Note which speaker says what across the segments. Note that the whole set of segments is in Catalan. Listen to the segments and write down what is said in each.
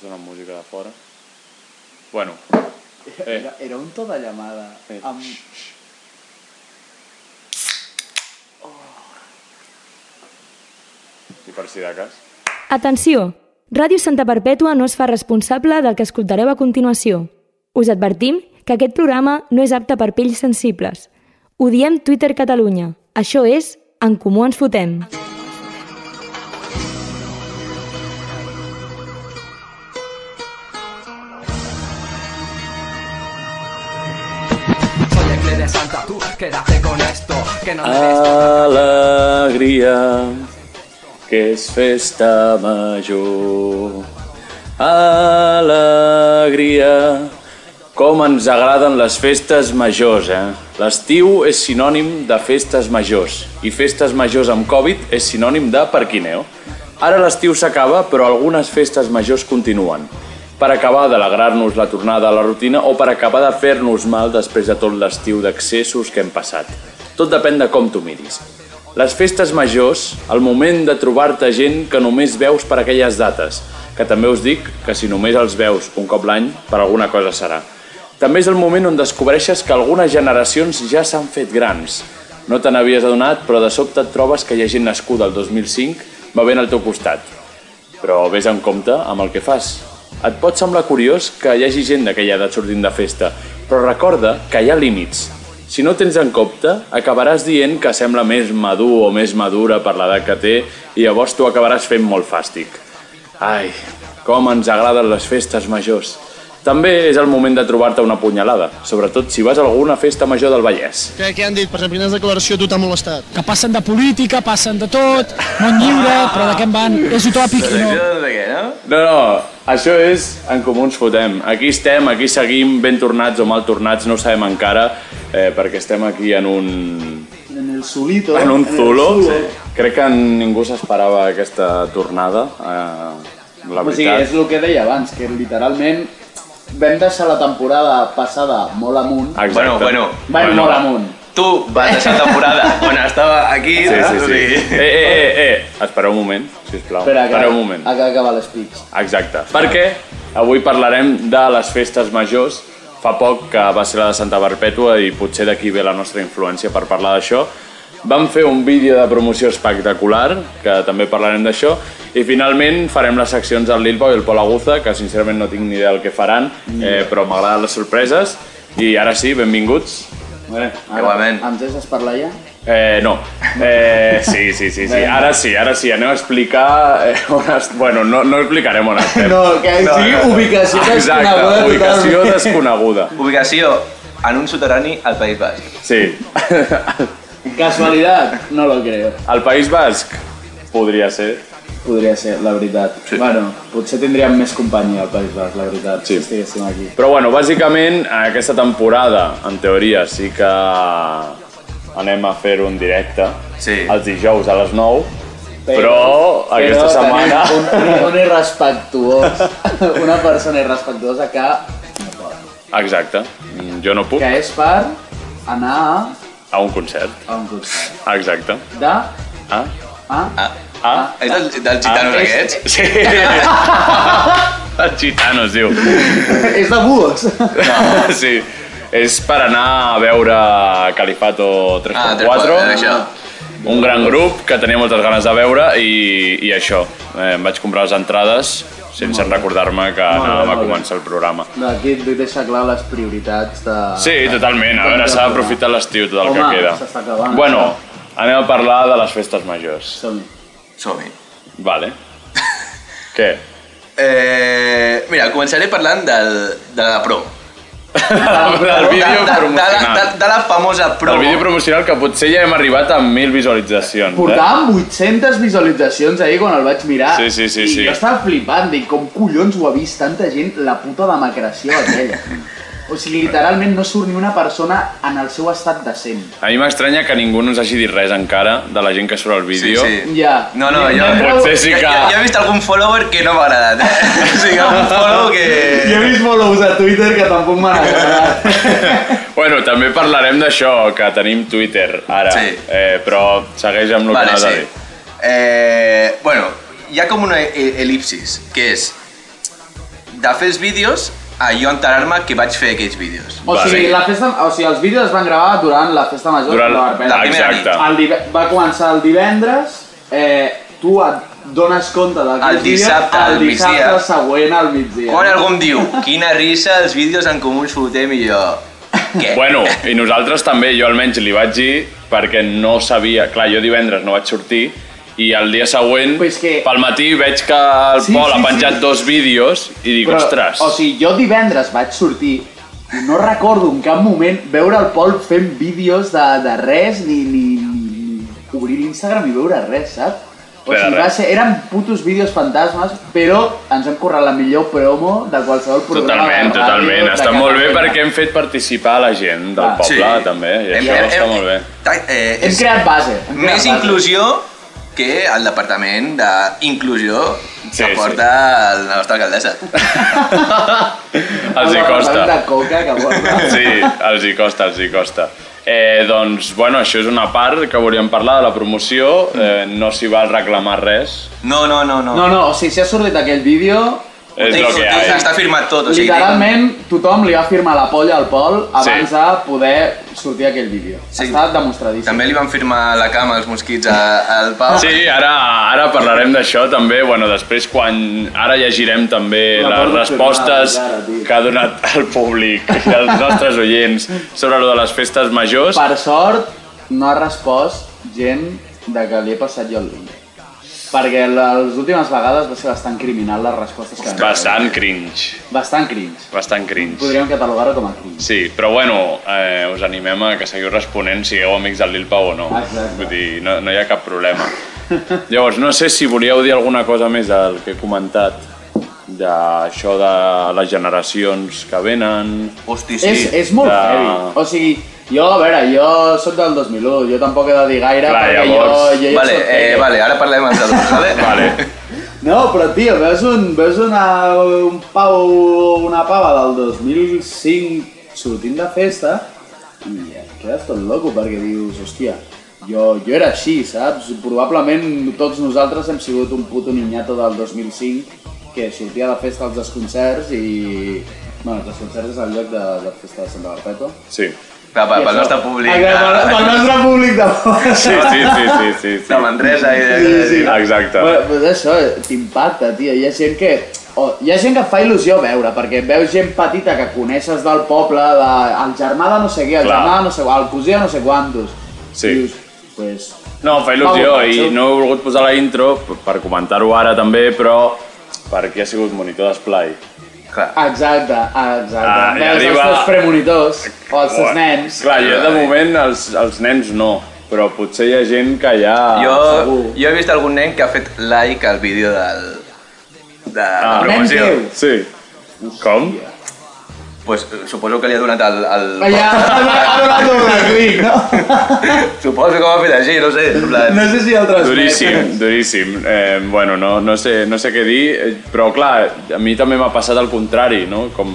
Speaker 1: sona música de fora. Bueno, Eh.
Speaker 2: Era, era un tota llamada
Speaker 1: Eh.
Speaker 2: amb...
Speaker 1: i per si de cas,
Speaker 3: Atenció! Ràdio Santa Perpètua no es fa responsable del que escoltareu a continuació. Us advertim que aquest programa no és apte per pells sensibles. Ho diem Twitter Catalunya. Això és En Comú Ens Fotem.
Speaker 4: Soy el clé de Santa, tú quédate con esto, que no
Speaker 2: Ah,
Speaker 4: me
Speaker 1: Alegria, que és festa major. Alegria. Com ens agraden les festes majors, eh? L'estiu és sinònim de festes majors i festes majors amb Covid és sinònim de parquineo. Ara l'estiu s'acaba, però algunes festes majors continuen. Per acabar d'alegrar-nos la tornada a la rutina o per acabar de fer-nos mal després de tot l'estiu d'excessos que hem passat. Tot depèn de com tu miris. Les festes majors, el moment de trobar-te gent que només veus per aquelles dates, que també us dic que si només els veus un cop l'any, per alguna cosa serà. També és el moment on descobreixes que algunes generacions ja s'han fet grans. No te n'havies adonat, però de sobte et trobes que hi ha gent nascuda el 2005 bevent al teu costat però vés en compte amb el que fas. Et pot semblar curiós que hi hagi gent d'aquella edat sortint de festa, però recorda que hi ha límits. Si no tens en compte, acabaràs dient que sembla més madur o més madura per l'edat que té i llavors tu acabaràs fent molt fàstic. Ai, com ens agraden les festes majors. També és el moment de trobar-te una punyalada, sobretot si vas a alguna festa major del Vallès.
Speaker 5: Què, què han dit? Per exemple, quines declaració a tu t'ha molestat?
Speaker 6: que passen de política, passen de tot, món lliure, però de què en van? És utòpic i no.
Speaker 1: No, no, això és en comú ens fotem. Aquí estem, aquí seguim, ben tornats o mal tornats, no ho sabem encara, eh, perquè estem aquí en un,
Speaker 2: En el solito.
Speaker 1: en un
Speaker 2: el
Speaker 1: zulo. Sí. Crec que ningú s'esperava aquesta tornada, eh, la
Speaker 2: O sigui, és
Speaker 1: veritat.
Speaker 2: el que deia abans, que literalment vam deixar la temporada passada molt amunt.
Speaker 1: Exacte.
Speaker 7: Bueno, bueno.
Speaker 2: Va
Speaker 1: Ah, Bueno,
Speaker 2: molt amunt.
Speaker 7: Tú vas a esa temporada cuando estaba aquí.
Speaker 1: Sí, sí,
Speaker 7: ¿no?
Speaker 1: sí. Eh, eh, eh, eh, espereu un moment, sisplau.
Speaker 2: Espera, que,
Speaker 1: Espereu un moment.
Speaker 2: a que acaba l'espeech.
Speaker 1: Exacte, perquè avui parlarem de les festes majors. Fa poc que va ser la de Santa Perpètua i potser d'aquí ve la nostra influència per parlar d'això. Vam fer un vídeo de promoció espectacular, que també parlarem d'això, i finalment farem les seccions del Lilbao i el Pol Aguza, que sincerament no tinc ni idea del que faran, eh, però m'agraden les sorpreses. I ara sí, benvinguts.
Speaker 2: Bé,
Speaker 7: Igualment.
Speaker 2: Ens deixes parlar ja?
Speaker 1: Eh, no. Eh, sí, sí, sí, sí. Ara sí, ara sí, anem a explicar eh, on es... Bueno, no, no explicarem on estem.
Speaker 2: No, que sigui
Speaker 7: no, no.
Speaker 2: ubicació desconeguda
Speaker 1: Exacte, ubicació
Speaker 2: totalment.
Speaker 1: desconeguda.
Speaker 7: Ubicació en un soterrani al País Basc.
Speaker 1: Sí.
Speaker 2: Casualitat? No lo creo.
Speaker 1: El País Basc podria ser.
Speaker 2: Podria ser, la veritat. Sí. Bueno, potser tindríem més companyia al País Basc, la veritat,
Speaker 1: Sí.
Speaker 2: si estiguéssim aquí.
Speaker 1: Però bueno, bàsicament aquesta temporada, en teoria, sí que anem a fer un directe
Speaker 7: Sí.
Speaker 1: els dijous a les 9, però, aquesta
Speaker 2: però
Speaker 1: setmana...
Speaker 2: tenim Un, un, un irrespectuós, una persona irrespectuosa que, no pot,
Speaker 1: Exacte, Mm, jo no puc,
Speaker 2: que és per anar a-
Speaker 1: a un concert.
Speaker 2: a un concert.
Speaker 1: Exacte.
Speaker 2: De...
Speaker 1: Ah,
Speaker 2: A...
Speaker 7: Ah,
Speaker 1: ah,
Speaker 7: és del, eh, dels gitanos
Speaker 1: Ah, és-
Speaker 7: aquests?
Speaker 1: sí. Els gitanos, diu.
Speaker 2: És de búhos.
Speaker 1: No, sí. És per anar a veure Califato
Speaker 7: Ah,
Speaker 1: 3x4,
Speaker 7: 3x4, això.
Speaker 1: un gran grup que tenia moltes ganes de veure i, i això, eh, em vaig comprar les entrades sense recordar-me que
Speaker 2: bé,
Speaker 1: anàvem a
Speaker 2: molt bé.
Speaker 1: començar el programa.
Speaker 2: Aquí et deixa clar les prioritats de...
Speaker 1: Sí, totalment, a veure, s'ha d'aprofitar l'estiu tot el
Speaker 2: Home,
Speaker 1: que queda.
Speaker 2: s'està acabant,
Speaker 1: Bueno, anem a parlar de les festes majors.
Speaker 2: Som-hi.
Speaker 7: Som-hi.
Speaker 1: Vale. Què?
Speaker 7: Eh, mira, començaré parlant del, de la promo.
Speaker 1: El vídeo
Speaker 7: de, de, de, la-
Speaker 1: promocional.
Speaker 7: de, de la famosa promo.
Speaker 1: El vídeo promocional que potser ja hem arribat a 1.000 visualitzacions. eh?
Speaker 2: Portàvem 800 visualitzacions ahir quan el vaig mirar
Speaker 1: Sí, sí, sí,
Speaker 2: i
Speaker 1: sí.
Speaker 2: jo estava flipant, dic, com collons ho ha vist tanta gent la puta demacració aquella. o sigui, literalment no surt ni una persona en el seu estat decent.
Speaker 1: A mi m'estranya que ningú no ens hagi dit res encara de la gent que surt al vídeo.
Speaker 7: Sí, sí.
Speaker 2: Ja.
Speaker 7: No, no,
Speaker 2: Ni-
Speaker 7: jo...
Speaker 2: ni-
Speaker 1: Potser sí que-
Speaker 7: Ja, ja, ja he vist algun follower que no m'ha agradat. eh? o sigui, algun follow
Speaker 2: Jo he
Speaker 7: que...
Speaker 2: vist follows a Twitter que tampoc m'han agradat.
Speaker 1: Bueno, també parlarem d'això, que tenim Twitter ara,
Speaker 7: Sí.
Speaker 1: eh, però segueix amb el
Speaker 7: Vale,
Speaker 1: que anava
Speaker 7: sí.
Speaker 1: a dir.
Speaker 7: Eh, bueno, hi ha com una e- elipsis, que és... de fer els vídeos a jo enterar-me que vaig fer aquells vídeos.
Speaker 2: O
Speaker 1: Va,
Speaker 2: sigui,
Speaker 1: sí.
Speaker 2: la festa, o sigui, els vídeos es van gravar durant la festa major
Speaker 1: Durant...
Speaker 2: de la Barbeta.
Speaker 7: la primera
Speaker 1: Exacte.
Speaker 2: El dive- va començar el divendres, eh, tu et dones compte d'aquests
Speaker 7: El
Speaker 2: vídeos
Speaker 7: dissabte al
Speaker 2: el dissabte
Speaker 7: migdia.
Speaker 2: següent al migdia.
Speaker 7: Quan algú em diu, quina risa els vídeos en comú ens fotem i jo... Què?
Speaker 1: Bueno, i nosaltres també, jo almenys li vaig dir perquè no sabia, clar, jo divendres no vaig sortir i el dia següent,
Speaker 2: Pues que-
Speaker 1: pel matí, veig que el
Speaker 2: Sí,
Speaker 1: Pol
Speaker 2: sí,
Speaker 1: ha penjat
Speaker 2: sí.
Speaker 1: dos vídeos i dic, ostres,
Speaker 2: O sigui, jo divendres vaig sortir i no recordo en cap moment veure el Pol fent vídeos de, de res ni, ni, ni, ni obrir l'Instagram i veure res, saps? O
Speaker 1: Fer
Speaker 2: sigui,
Speaker 1: res.
Speaker 2: va ser, eren putos vídeos fantasmes, però ens hem currat la millor promo de qualsevol programa. de
Speaker 1: totalment,
Speaker 2: ràdio
Speaker 1: totalment.
Speaker 2: de
Speaker 1: Està molt bé
Speaker 2: Catalunya.
Speaker 1: perquè hem fet participar la gent del
Speaker 2: Ah,
Speaker 1: poble, també, i
Speaker 7: Hem-
Speaker 1: això
Speaker 7: hem-
Speaker 1: està
Speaker 7: hem-
Speaker 1: molt bé.
Speaker 7: ta- Eh,
Speaker 2: Hem
Speaker 7: és
Speaker 2: creat base. Hem creat
Speaker 7: més
Speaker 2: base.
Speaker 7: inclusió que el departament d'inclusió
Speaker 1: Sí,
Speaker 7: que
Speaker 1: sí.
Speaker 7: porta la nostra alcaldessa.
Speaker 1: Els hi
Speaker 2: El
Speaker 1: costa.
Speaker 2: departament de coca que porta.
Speaker 1: Sí, els hi costa, els hi costa. Eh, doncs, bueno, això és una part que volíem parlar de la promoció. Eh, no s'hi val reclamar res.
Speaker 7: No, no, no, no.
Speaker 2: No, no, o sigui, si ha sortit aquell vídeo,
Speaker 1: És
Speaker 7: Tinc-
Speaker 1: el que hi
Speaker 7: tinc-
Speaker 1: ha.
Speaker 7: Està firmat tot, o sigui, tinc-
Speaker 2: Literalment, tothom li va firmar la polla al Pol abans
Speaker 1: Sí.
Speaker 2: de poder sortir aquell vídeo.
Speaker 7: Sí.
Speaker 2: Està demostradíssim.
Speaker 7: també li van firmar la cama els mosquits a- al Pau.
Speaker 1: Sí, ara, ara parlarem d'això també, bueno, després quan... Ara llegirem també
Speaker 2: La
Speaker 1: les
Speaker 2: porta
Speaker 1: respostes
Speaker 2: firmada, ara, tio.
Speaker 1: que ha donat el públic i els nostres oients sobre lo de les festes majors.
Speaker 2: Per sort, no ha respost gent de que li he passat jo el link. Perquè les últimes vegades va ser bastant criminal les respostes que van
Speaker 1: Bastant cringe,
Speaker 2: Bastant cringe.
Speaker 1: bastant cringe.
Speaker 2: Podríem catalogar-ho com a cringe.
Speaker 1: Sí, però bueno, eh, us animem a que seguiu responent, sigueu amics del Lil Pau o no.
Speaker 2: Exacte.
Speaker 1: Vull dir, no, no hi ha cap problema. Llavors, no sé si volíeu dir alguna cosa més del que he comentat d'això de les generacions que venen...
Speaker 7: Hosti, sí.
Speaker 2: És, és molt
Speaker 1: de-
Speaker 2: heavy. O sigui, jo, a veure, jo sóc del 2001, jo tampoc he de dir gaire
Speaker 1: Clar,
Speaker 2: perquè
Speaker 1: llavors-
Speaker 2: jo, jo ja
Speaker 7: Vale,
Speaker 2: soc
Speaker 7: eh,
Speaker 2: heavy.
Speaker 7: vale, ara parlem els adults, vale?
Speaker 1: Vale.
Speaker 2: No, però tio, veus, un, veus una, un pau, una pava del 2005 sortint de festa i et quedes tot loco perquè dius, hòstia, jo, jo era així, saps? Probablement tots nosaltres hem sigut un puto niñato del 2005 que sortia de festa als desconcerts i... Bueno, els desconcerts és el lloc de, de festa de Santa Barpeto.
Speaker 1: Sí.
Speaker 7: Clar, pel,
Speaker 2: I
Speaker 7: pel
Speaker 2: això-
Speaker 7: nostre públic.
Speaker 2: Ah, clar, Pel, pel nostre públic
Speaker 1: Sí,
Speaker 2: de
Speaker 1: sí, sí, sí, sí, sí.
Speaker 7: De Manresa i de...
Speaker 2: Sí, sí.
Speaker 1: Exacte.
Speaker 2: Bueno, pues això t'impacta, tio. Hi ha gent que... O, hi ha gent que et fa il·lusió veure, perquè veus gent petita que coneixes del poble, de, el germà de no sé qui, el
Speaker 1: Clar.
Speaker 2: germà de no sé quant, el cosí de no sé quantos.
Speaker 1: Sí.
Speaker 2: I dius, pues,
Speaker 1: No, fa il·lusió
Speaker 2: Vamos,
Speaker 1: i
Speaker 2: macho.
Speaker 1: no he volgut posar la intro p- per comentar-ho ara també, però perquè ha sigut monitor d'esplai.
Speaker 7: Clar.
Speaker 2: exacte, exacte.
Speaker 1: Ah, i
Speaker 2: veus
Speaker 1: arriba-
Speaker 2: els teus premonitors, o els teus
Speaker 1: Bueno,
Speaker 2: nens.
Speaker 1: Clar, jo de moment els, els nens no, però potser hi ha gent que ja...
Speaker 7: Jo,
Speaker 2: Ah, segur.
Speaker 7: jo he vist algun nen que ha fet like al vídeo del... De la
Speaker 1: Ah.
Speaker 7: promoció.
Speaker 2: Nen teu.
Speaker 1: Sí. Com?
Speaker 7: Pues, eh, suposo que li ha donat el... el...
Speaker 2: Allà, ha donat un clic, no?
Speaker 7: Suposo que ho ha fet així, no sé. en plan-
Speaker 2: No sé si el transmet.
Speaker 1: Duríssim, duríssim. Eh, bueno, no, no, sé, no sé què dir, eh, però clar, a mi també m'ha passat el contrari, no? Com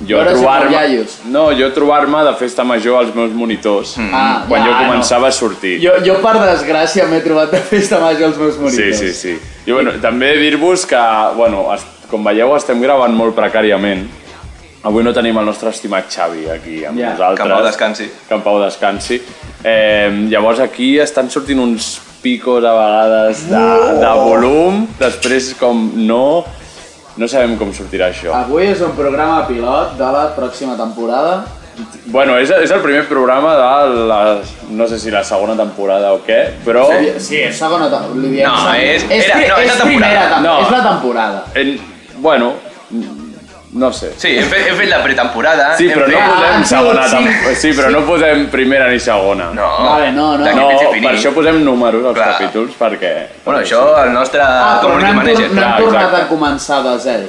Speaker 1: jo
Speaker 2: Veure-se amb
Speaker 1: trobar-me...
Speaker 2: iaios.
Speaker 1: No, jo trobar-me de festa major als meus monitors
Speaker 7: Mm.
Speaker 2: Ah,
Speaker 1: quan jo
Speaker 2: ja, no.
Speaker 1: començava a sortir.
Speaker 2: Jo, jo per desgràcia m'he trobat de festa major als meus
Speaker 1: Sí,
Speaker 2: monitors.
Speaker 1: sí, sí. I bueno, també dir-vos que, bueno, es, com veieu, estem gravant molt precàriament. Avui no tenim el nostre estimat Xavi aquí amb
Speaker 2: Ja,
Speaker 1: nosaltres.
Speaker 7: que en pau descansi.
Speaker 1: Que en Pau descansi. Eh, llavors aquí estan sortint uns picos a vegades de, de volum, després com no... No sabem com sortirà això.
Speaker 2: Avui és un programa pilot de la pròxima temporada.
Speaker 1: Bueno, és, és el primer programa de la... no sé si la segona temporada o què, però...
Speaker 2: Sí, sí és Eh? segona temporada. Li diem
Speaker 7: No,
Speaker 2: segona.
Speaker 7: és- era-
Speaker 2: pri-
Speaker 7: no, és la temporada.
Speaker 2: primera temporada.
Speaker 1: No.
Speaker 2: És la temporada.
Speaker 1: En, bueno, no sé.
Speaker 7: Sí, hem fet, hem fet la pretemporada.
Speaker 1: Sí,
Speaker 7: hem
Speaker 1: però no
Speaker 7: fet...
Speaker 2: Ah,
Speaker 1: posem
Speaker 2: sí,
Speaker 1: segona
Speaker 2: sí.
Speaker 1: tampoc. Sí, però no posem primera ni segona.
Speaker 7: No.
Speaker 2: Vale, no, no.
Speaker 7: D'aquí
Speaker 1: No,
Speaker 7: fins
Speaker 1: per
Speaker 7: infinit.
Speaker 1: això posem números als
Speaker 7: Clar.
Speaker 1: capítols, perquè...
Speaker 7: Bueno, això el nostre
Speaker 2: Ah, però no
Speaker 7: community
Speaker 2: hem, tor-
Speaker 7: manager.
Speaker 2: no hem
Speaker 1: clar,
Speaker 2: tornat
Speaker 1: exacte.
Speaker 2: a començar de zero.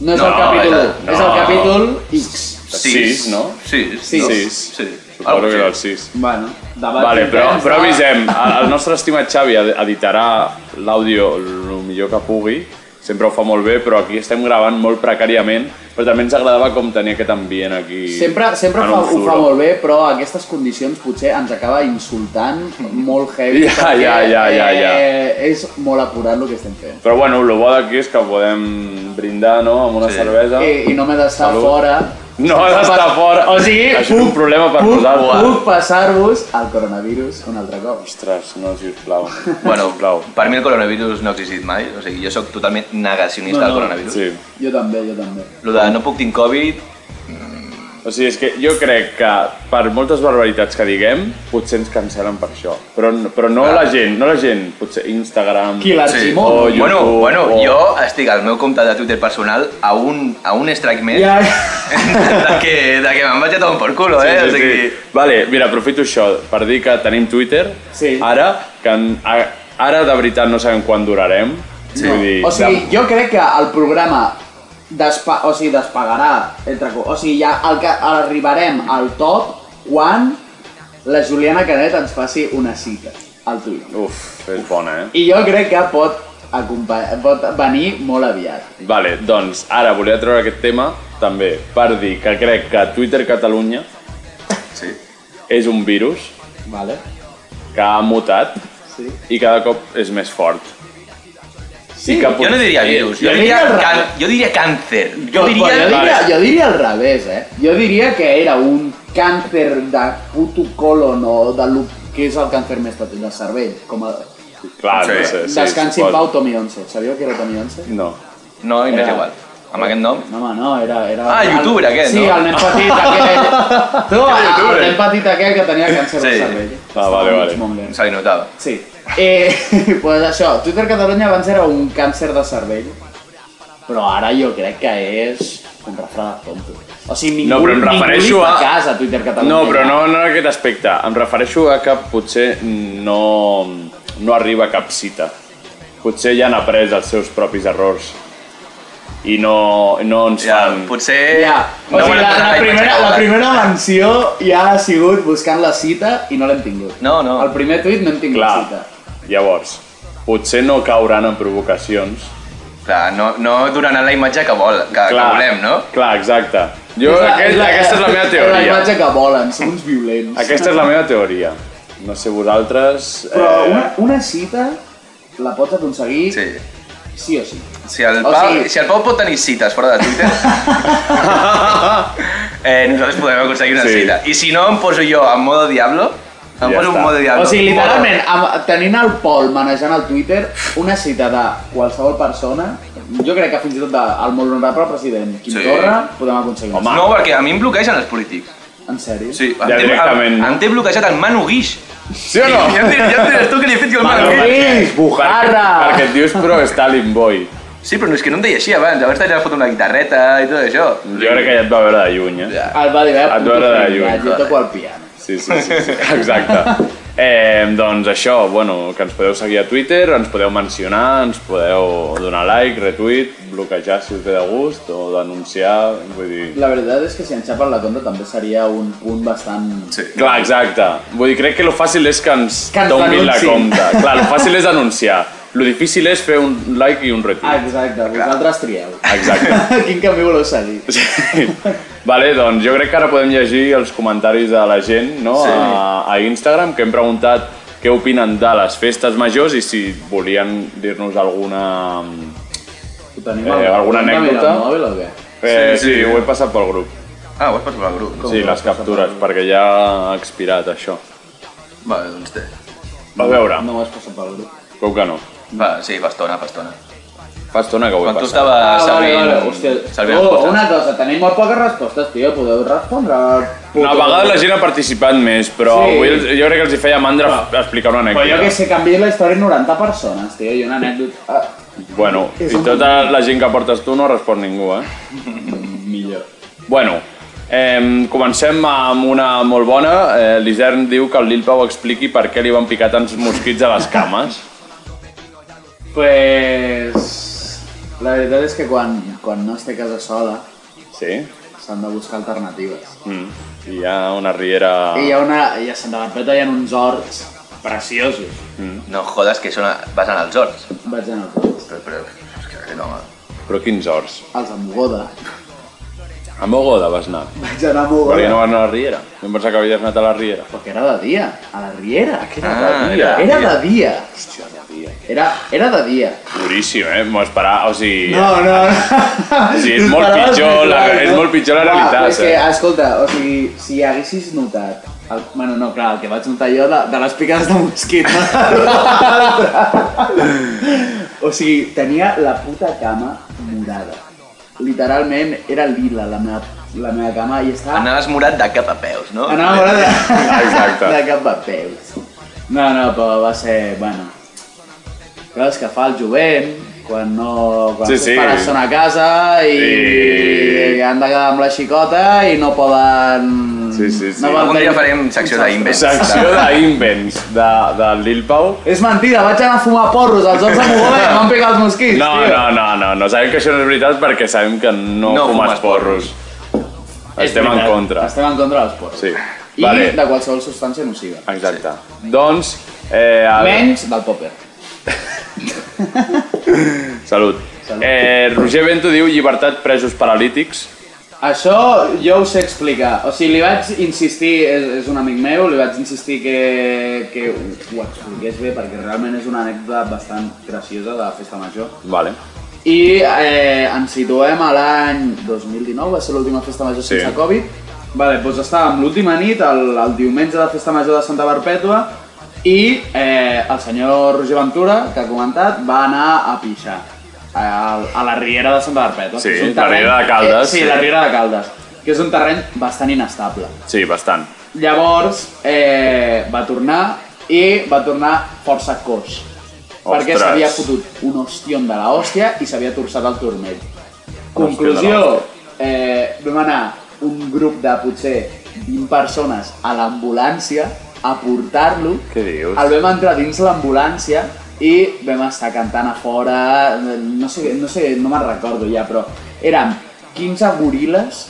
Speaker 2: No és
Speaker 7: No,
Speaker 2: el capítol
Speaker 7: era-
Speaker 2: 1, és el
Speaker 1: no.
Speaker 2: capítol X.
Speaker 1: Sis, no?
Speaker 7: Sis.
Speaker 2: Sis.
Speaker 7: no?
Speaker 1: Sis.
Speaker 7: Sí.
Speaker 1: Suposo que era el
Speaker 7: sí.
Speaker 1: 6.
Speaker 2: Bueno, debat
Speaker 1: Vale,
Speaker 2: intern,
Speaker 1: però,
Speaker 2: està-
Speaker 1: però avisem, el el nostre estimat Xavi ed- editarà l'àudio el millor que pugui sempre ho fa molt bé, però aquí estem gravant molt precàriament, però també ens agradava com tenia aquest ambient aquí.
Speaker 2: Sempre, sempre
Speaker 1: en
Speaker 2: fa,
Speaker 1: un
Speaker 2: ho fa
Speaker 1: zulo.
Speaker 2: molt bé, però aquestes condicions potser ens acaba insultant molt heavy.
Speaker 1: Ja,
Speaker 2: perquè,
Speaker 1: ja, ja, ja, ja.
Speaker 2: Eh, és molt apurat el que estem fent.
Speaker 1: Però bueno, el bo d'aquí és que podem brindar, no?, amb una
Speaker 7: Sí.
Speaker 1: cervesa.
Speaker 2: I, I no m'he d'estar
Speaker 1: Salut.
Speaker 2: fora.
Speaker 1: No ha d'estar fora.
Speaker 2: O sigui,
Speaker 1: Això és un problema per
Speaker 2: puc,
Speaker 1: nosaltres.
Speaker 2: Puc passar-vos el coronavirus un altre cop.
Speaker 1: Ostres, no, sisplau.
Speaker 7: Bueno,
Speaker 1: sisplau.
Speaker 7: per mi el coronavirus no ha existit mai, o sigui, jo sóc totalment negacionista
Speaker 2: No,
Speaker 7: del
Speaker 2: no.
Speaker 7: coronavirus.
Speaker 1: Sí.
Speaker 2: Jo també, jo també.
Speaker 7: Lo de no puc tenir Covid,
Speaker 1: O sigui, és que jo crec que per moltes barbaritats que diguem, potser ens cancel·len per això. Però, però no
Speaker 7: Clar.
Speaker 1: la gent, no la gent. Potser Instagram...
Speaker 2: Qui l'arximó?
Speaker 1: o
Speaker 2: Sí.
Speaker 1: Oh, YouTube, Oh.
Speaker 7: bueno, bueno,
Speaker 1: o-
Speaker 7: jo estic al meu compte de Twitter personal a un, a un strike
Speaker 1: Eh?
Speaker 7: més
Speaker 2: Ja,
Speaker 7: de que, de que me'n vaig a tomar por culo, eh? o sigui,
Speaker 1: Vale, mira, aprofito això per dir que tenim Twitter
Speaker 2: Sí.
Speaker 1: ara, que en, a, ara de veritat no sabem quan durarem. Sí. Vull dir,
Speaker 2: o sigui, jo crec que el programa despa o sigui, despegarà, entre co- o sigui, ja el que arribarem al top quan la Juliana Canet ens faci una cita al Twitter.
Speaker 1: de... Uf, és bona, eh?
Speaker 2: I jo crec que pot, acompa- pot venir molt aviat.
Speaker 1: Vale, doncs ara volia treure aquest tema també per dir que crec que Twitter Catalunya
Speaker 7: sí.
Speaker 1: és un virus
Speaker 2: Vale?
Speaker 1: que ha mutat
Speaker 2: Sí.
Speaker 1: i cada cop és més fort.
Speaker 2: Sí,
Speaker 1: I que
Speaker 7: Jo no diria
Speaker 1: eh,
Speaker 7: virus, jo
Speaker 2: jo
Speaker 7: diria,
Speaker 2: diria el
Speaker 7: can,
Speaker 2: rap.
Speaker 7: jo diria càncer.
Speaker 2: Jo,
Speaker 7: Jo
Speaker 2: jo,
Speaker 7: diria...
Speaker 2: diria, jo diria al revés, eh? Jo diria que era un càncer de puto colon o de lo que és el càncer més petit del cervell. Com a...
Speaker 1: Clar,
Speaker 7: Sí.
Speaker 1: no sé, sí,
Speaker 2: Descansi en
Speaker 1: suposo.
Speaker 2: pau Tommy 11. Sabíeu que era Tommy 11?
Speaker 1: No.
Speaker 7: No, i m'és
Speaker 2: Era-
Speaker 7: igual. Amb aquest nom,
Speaker 2: No, home, no, era... era
Speaker 7: Ah, youtuber aquest,
Speaker 2: sí,
Speaker 7: no?
Speaker 2: el nen petit aquell. tu, el,
Speaker 1: youtuber?
Speaker 2: el nen petit aquell que tenia càncer
Speaker 7: Sí.
Speaker 2: de cervell.
Speaker 1: Ah, vale, vale.
Speaker 2: vale.
Speaker 7: se li notava.
Speaker 2: Sí. Eh, pues això, Twitter Catalunya abans era un càncer de cervell, però ara jo crec que és un refredat tonto. O sigui, ningú,
Speaker 1: No, però em refereixo
Speaker 2: ningú li fa
Speaker 1: a-
Speaker 2: cas a Twitter Catalunya.
Speaker 1: No, però no, no en aquest aspecte. Em refereixo a que potser no, no arriba a cap cita. Potser ja han après els seus propis errors i no, no ens
Speaker 7: Ja,
Speaker 1: fan...
Speaker 7: potser...
Speaker 2: Ja. O
Speaker 7: pues, eh, No
Speaker 2: sigui,
Speaker 7: pues, volem
Speaker 2: la,
Speaker 7: posar
Speaker 2: la,
Speaker 7: imatge
Speaker 2: primera,
Speaker 7: catalana.
Speaker 2: la primera menció ja ha sigut buscant la cita i no l'hem tingut.
Speaker 7: No, no.
Speaker 2: El primer tuit no hem tingut
Speaker 1: Clar,
Speaker 2: cita.
Speaker 1: llavors, potser no cauran en provocacions.
Speaker 7: Clar, no, no donaran la imatge que, vol, que, que
Speaker 1: Clar,
Speaker 7: volem, no?
Speaker 1: Clar, exacte. Jo,
Speaker 2: És la-
Speaker 1: aquest,
Speaker 2: és la-
Speaker 1: aquesta és la meva
Speaker 2: És la
Speaker 1: teoria.
Speaker 2: imatge que volen, són uns violents.
Speaker 1: Aquesta és la meva teoria. No sé vosaltres... eh,
Speaker 2: Però una, una cita la pots aconseguir
Speaker 7: Sí.
Speaker 2: sí, sí o sí.
Speaker 7: Si el,
Speaker 2: O
Speaker 7: Pau,
Speaker 2: sigui-
Speaker 7: si el Pau pot tenir cites fora de Twitter, eh, nosaltres podem aconseguir una
Speaker 1: Sí.
Speaker 7: cita. I si no, em poso jo en modo diablo, em
Speaker 1: Ja
Speaker 7: poso
Speaker 1: està.
Speaker 7: en modo diablo.
Speaker 2: O sigui, literalment, amb, tenint el Pol manejant el Twitter, una cita de qualsevol persona, jo crec que fins i tot del molt honorable president Quim
Speaker 7: Sí.
Speaker 2: Torra, podem aconseguir una
Speaker 1: Home.
Speaker 7: No, perquè a mi em bloquegen els polítics.
Speaker 2: cita. En sèrio?
Speaker 7: Sí, em
Speaker 1: Ja
Speaker 7: té-
Speaker 1: directament,
Speaker 7: em,
Speaker 1: no?
Speaker 7: em té bloquejat el Manu Guix.
Speaker 1: Sí o
Speaker 7: Ja, em diré- ja em diràs tu que li he fet jo el Manu
Speaker 2: Manu
Speaker 7: Guix.
Speaker 2: Guix, bujarra!
Speaker 1: Perquè, perquè et dius, però Stalin Boy.
Speaker 7: Sí, però no, és que no em deia així abans. Abans t'anirà a fotre una guitarreta i tot això.
Speaker 1: Jo crec que ja et va veure de lluny, eh?
Speaker 7: Ja.
Speaker 2: El va dir,
Speaker 1: Et
Speaker 2: eh, puto
Speaker 1: veurà de
Speaker 2: fill,
Speaker 1: lluny,
Speaker 2: jo toco el piano.
Speaker 1: Sí, sí, sí, sí. exacte. Eh, doncs això, bueno, que ens podeu seguir a Twitter, ens podeu mencionar, ens podeu donar like, retweet, bloquejar si us ve de gust o denunciar, vull dir...
Speaker 2: La veritat és que si ens xapen la conta també seria un punt bastant...
Speaker 7: Sí.
Speaker 1: Clar, exacte. Vull dir, crec que lo fàcil és que ens
Speaker 2: Que ens
Speaker 1: tombin la
Speaker 2: denunciïn.
Speaker 1: compta. Clar, lo fàcil és denunciar. Lo difícil és fer un like i un
Speaker 2: Ah,
Speaker 1: retweet.
Speaker 2: exacte, vosaltres trieu.
Speaker 1: Exacte.
Speaker 2: Quin camí voleu seguir?
Speaker 1: Sí. Vale, doncs jo crec que ara podem llegir els comentaris de la gent no?
Speaker 7: Sí.
Speaker 1: a, a Instagram, que hem preguntat què opinen de les festes majors i si volien dir-nos alguna...
Speaker 2: Ho tenim
Speaker 1: Eh,
Speaker 2: al-
Speaker 1: alguna
Speaker 2: ho tenim
Speaker 1: anècdota?
Speaker 2: al mòbil o què?
Speaker 1: Eh,
Speaker 7: Sí,
Speaker 1: sí,
Speaker 7: sí.
Speaker 1: sí, ho he passat pel grup.
Speaker 7: Ah, ho has passat pel grup.
Speaker 1: Sí, les captures, perquè ja ha expirat això.
Speaker 7: Va, doncs té.
Speaker 1: Va a veure,
Speaker 2: No ho has passat pel grup.
Speaker 1: com que no.
Speaker 7: Va, sí, fa estona, fa estona.
Speaker 1: Fa estona que ho he
Speaker 7: Quan tu
Speaker 1: passat.
Speaker 7: estaves
Speaker 2: Ah, vale,
Speaker 7: servint...
Speaker 2: vale, hòstia.
Speaker 7: servint
Speaker 2: Oh,
Speaker 7: les postres.
Speaker 2: una cosa, tenim molt poques respostes, tio, podeu respondre.
Speaker 1: Una vegada la gent ha participat més, però
Speaker 2: Sí.
Speaker 1: avui els- jo crec que els hi feia mandra f- explicar una
Speaker 2: Però
Speaker 1: anècdota.
Speaker 2: jo que sé, canviar la història en 90 persones, tio, i una anècdota... Ah,
Speaker 1: Bueno, i tota la gent que portes tu no respon ningú, eh?
Speaker 2: millor.
Speaker 1: Bueno, eh, comencem amb una molt bona. Eh, L'Isern diu que el Lil Pau expliqui per què li van picar tants mosquits a les cames.
Speaker 2: Pues... La veritat és que quan, quan no es té casa sola,
Speaker 1: Sí.
Speaker 2: s'han de buscar alternatives.
Speaker 1: Mm. Hi ha una riera...
Speaker 2: I hi ha una... I a Santa Barpeta hi ha uns horts preciosos.
Speaker 7: No jodes que són a... vas anar als horts.
Speaker 2: Vaig anar al
Speaker 7: Però, però, és que aquest home.
Speaker 1: Però quins horts?
Speaker 2: Els amb Goda.
Speaker 1: A Mogoda vas anar.
Speaker 2: Vaig anar a
Speaker 1: Per què
Speaker 2: Mogoda.
Speaker 1: no vas anar a la Riera? Jo em pensava que havies anat a la Riera.
Speaker 2: Perquè era de dia, a la Riera. Que era,
Speaker 7: Ah,
Speaker 2: de
Speaker 7: era
Speaker 2: dia.
Speaker 7: de
Speaker 2: Era
Speaker 7: dia.
Speaker 2: de dia. Era, era de dia.
Speaker 1: Duríssim, eh? M'ho esperava, o sigui...
Speaker 2: No, no, no.
Speaker 1: Sí, és molt
Speaker 2: T'esperaves
Speaker 1: pitjor,
Speaker 2: més
Speaker 1: la-
Speaker 2: gran,
Speaker 1: és
Speaker 2: no?
Speaker 1: molt pitjor la
Speaker 2: Clar,
Speaker 1: realitat,
Speaker 2: Ah, però És que,
Speaker 1: eh?
Speaker 2: escolta, o sigui, si haguessis notat... El, bueno, no, clar, el que vaig notar jo de, de les picades de mosquit. No? o sigui, tenia la puta cama morada. Literalment era lila la meva, la meva cama i estava...
Speaker 7: Anaves morat de cap a peus, no?
Speaker 2: Ah. Anava morada de,
Speaker 1: Exacte.
Speaker 2: de cap a peus. No, no, però va ser, bueno... Coses que fa el jovent, quan no... Quan
Speaker 1: Sí,
Speaker 2: els
Speaker 1: sí.
Speaker 2: pares són a casa i,
Speaker 1: Sí.
Speaker 2: i han de quedar amb la xicota i no poden...
Speaker 1: Sí, sí, sí.
Speaker 2: poden
Speaker 7: Algun dia
Speaker 2: fer-
Speaker 7: farem secció d'invents.
Speaker 1: Secció d'Invents, de, de Lil Pau.
Speaker 2: És mentida, vaig anar a fumar porros als 11 de Mogoda i em van picar els mosquits,
Speaker 1: No,
Speaker 2: tio.
Speaker 1: no, no, no, no. Sabem que això no és veritat perquè sabem que no,
Speaker 7: No
Speaker 1: fumes
Speaker 7: fumes
Speaker 1: porros. Estem en contra.
Speaker 2: Estem en contra dels porros.
Speaker 1: Sí.
Speaker 2: I
Speaker 1: Vale.
Speaker 2: de qualsevol substància nociva.
Speaker 1: Exacte. Doncs, eh, el...
Speaker 2: Menys del popper.
Speaker 1: salut. Eh, Roger Bento diu llibertat presos paralítics.
Speaker 2: Això jo ho sé explicar. O sigui, li vaig insistir, és, és un amic meu, li vaig insistir que, que ho, ho expliqués bé perquè realment és una anècdota bastant graciosa de la festa major.
Speaker 1: Vale.
Speaker 2: I eh, ens situem a l'any 2019, va ser l'última festa major
Speaker 1: Sí.
Speaker 2: sí. sense Covid. Vale, doncs estàvem l'última nit, el, el diumenge de la festa major de Santa Perpètua, i eh, el senyor Roger Ventura, que ha comentat, va anar a pixar a, a la riera de Santa Perpètua.
Speaker 1: Sí,
Speaker 2: que és un
Speaker 1: la riera de Caldes,
Speaker 2: Eh, sí,
Speaker 1: sí.
Speaker 2: la riera de Caldes, que és un terreny bastant inestable.
Speaker 1: Sí, bastant.
Speaker 2: Llavors, eh, va tornar i va tornar força coix. Perquè
Speaker 1: Ostres.
Speaker 2: s'havia fotut un ostion de la hòstia i s'havia torçat el turmell. Conclusió, eh, vam anar un grup de potser 20 persones a l'ambulància a portar-lo.
Speaker 1: Què dius?
Speaker 2: El vam entrar dins l'ambulància i vam estar cantant a fora, no sé, no sé, no me'n recordo ja, però érem 15 goril·les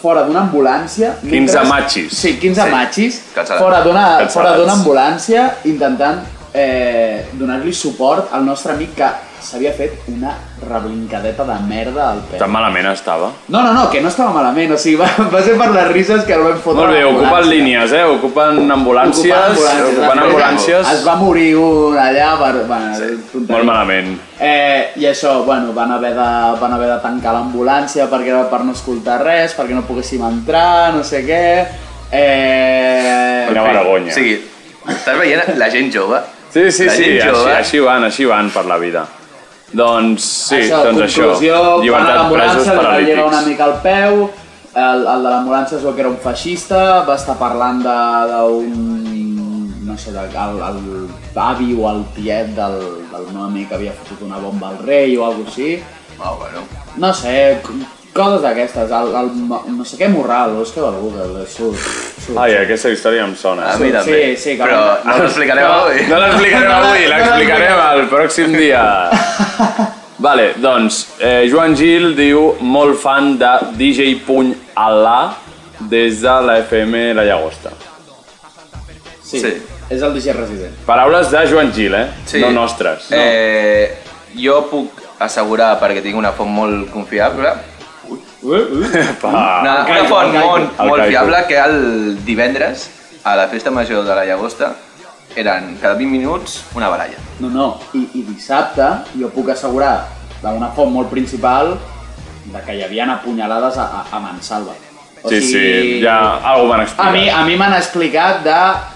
Speaker 2: fora d'una ambulància.
Speaker 1: 15 machis.
Speaker 2: Sí, 15
Speaker 7: Sí.
Speaker 2: matxis
Speaker 7: Calçadats.
Speaker 2: fora d'una
Speaker 1: Calçadats.
Speaker 2: fora d'una ambulància intentant eh, donar-li suport al nostre amic que s'havia fet una reblincadeta de merda al peu.
Speaker 1: Tan malament estava.
Speaker 2: No, no, no, que no estava malament, o sigui, va, va ser per les rises que el vam fotre.
Speaker 1: Molt bé,
Speaker 2: a
Speaker 1: ocupen
Speaker 2: l'ambulància.
Speaker 1: línies, eh? Ocupen ambulàncies,
Speaker 2: Ocupant ambulàncies,
Speaker 1: ocupen
Speaker 2: va fer-
Speaker 1: ambulàncies.
Speaker 2: Es va morir un allà per... Bueno, tonteria.
Speaker 1: Molt malament.
Speaker 2: Eh, I això, bueno, van haver de, van haver de tancar l'ambulància perquè era per no escoltar res, perquè no poguéssim entrar, no sé què... Eh...
Speaker 1: Quina
Speaker 7: O
Speaker 1: vergonya.
Speaker 7: sigui, estàs veient la gent jove?
Speaker 1: Sí, sí,
Speaker 7: La
Speaker 1: sí,
Speaker 7: gent
Speaker 1: així,
Speaker 7: jove.
Speaker 1: així van, així van per la vida. Doncs sí, doncs això.
Speaker 2: conclusió, van a
Speaker 1: Llibertat
Speaker 2: l'ambulància,
Speaker 1: presos
Speaker 2: li va llegar una
Speaker 1: paralítics.
Speaker 2: mica al peu, el, el de l'ambulància es veu que era un feixista, va estar parlant de- d'un no sé, de, el, el avi o el tiet del, del meu amic que havia fotut una bomba al rei o alguna així.
Speaker 7: Ah, bueno.
Speaker 2: No sé, c- coses d'aquestes, el, el, no sé què morral, és que algú que li surt. surt.
Speaker 1: Ai, aquesta història em sona. eh?
Speaker 7: A mi
Speaker 2: Sí,
Speaker 7: també.
Speaker 2: sí, que-
Speaker 7: Però no l'explicarem
Speaker 2: No,
Speaker 7: avui.
Speaker 1: No l'explicarem avui,
Speaker 2: No la-
Speaker 1: l'explicarem
Speaker 2: no l'explicarem.
Speaker 1: al pròxim dia. Vale, doncs, eh, Joan Gil diu molt fan de DJ Puny Alà des de la FM La Llagosta.
Speaker 2: Sí,
Speaker 7: Sí.
Speaker 2: és el DJ resident.
Speaker 1: Paraules de Joan Gil, eh? No nostres. No.
Speaker 7: Eh, jo puc assegurar, perquè tinc una font molt confiable,
Speaker 1: Pa. Ah,
Speaker 7: una,
Speaker 2: el
Speaker 7: una
Speaker 2: Caico,
Speaker 7: font
Speaker 2: el Caico.
Speaker 7: molt,
Speaker 1: Eh, El
Speaker 7: molt
Speaker 1: Caico.
Speaker 7: fiable, que el divendres, a la festa major de la Llagosta, eren cada 20 minuts una baralla.
Speaker 2: No, no, i, i dissabte jo puc assegurar d'una font molt principal de que hi havia apunyalades a, a, a Mansalva. O
Speaker 1: Sí, sí, ja algú van
Speaker 2: A
Speaker 1: explicar.
Speaker 2: mi, a mi m'han explicat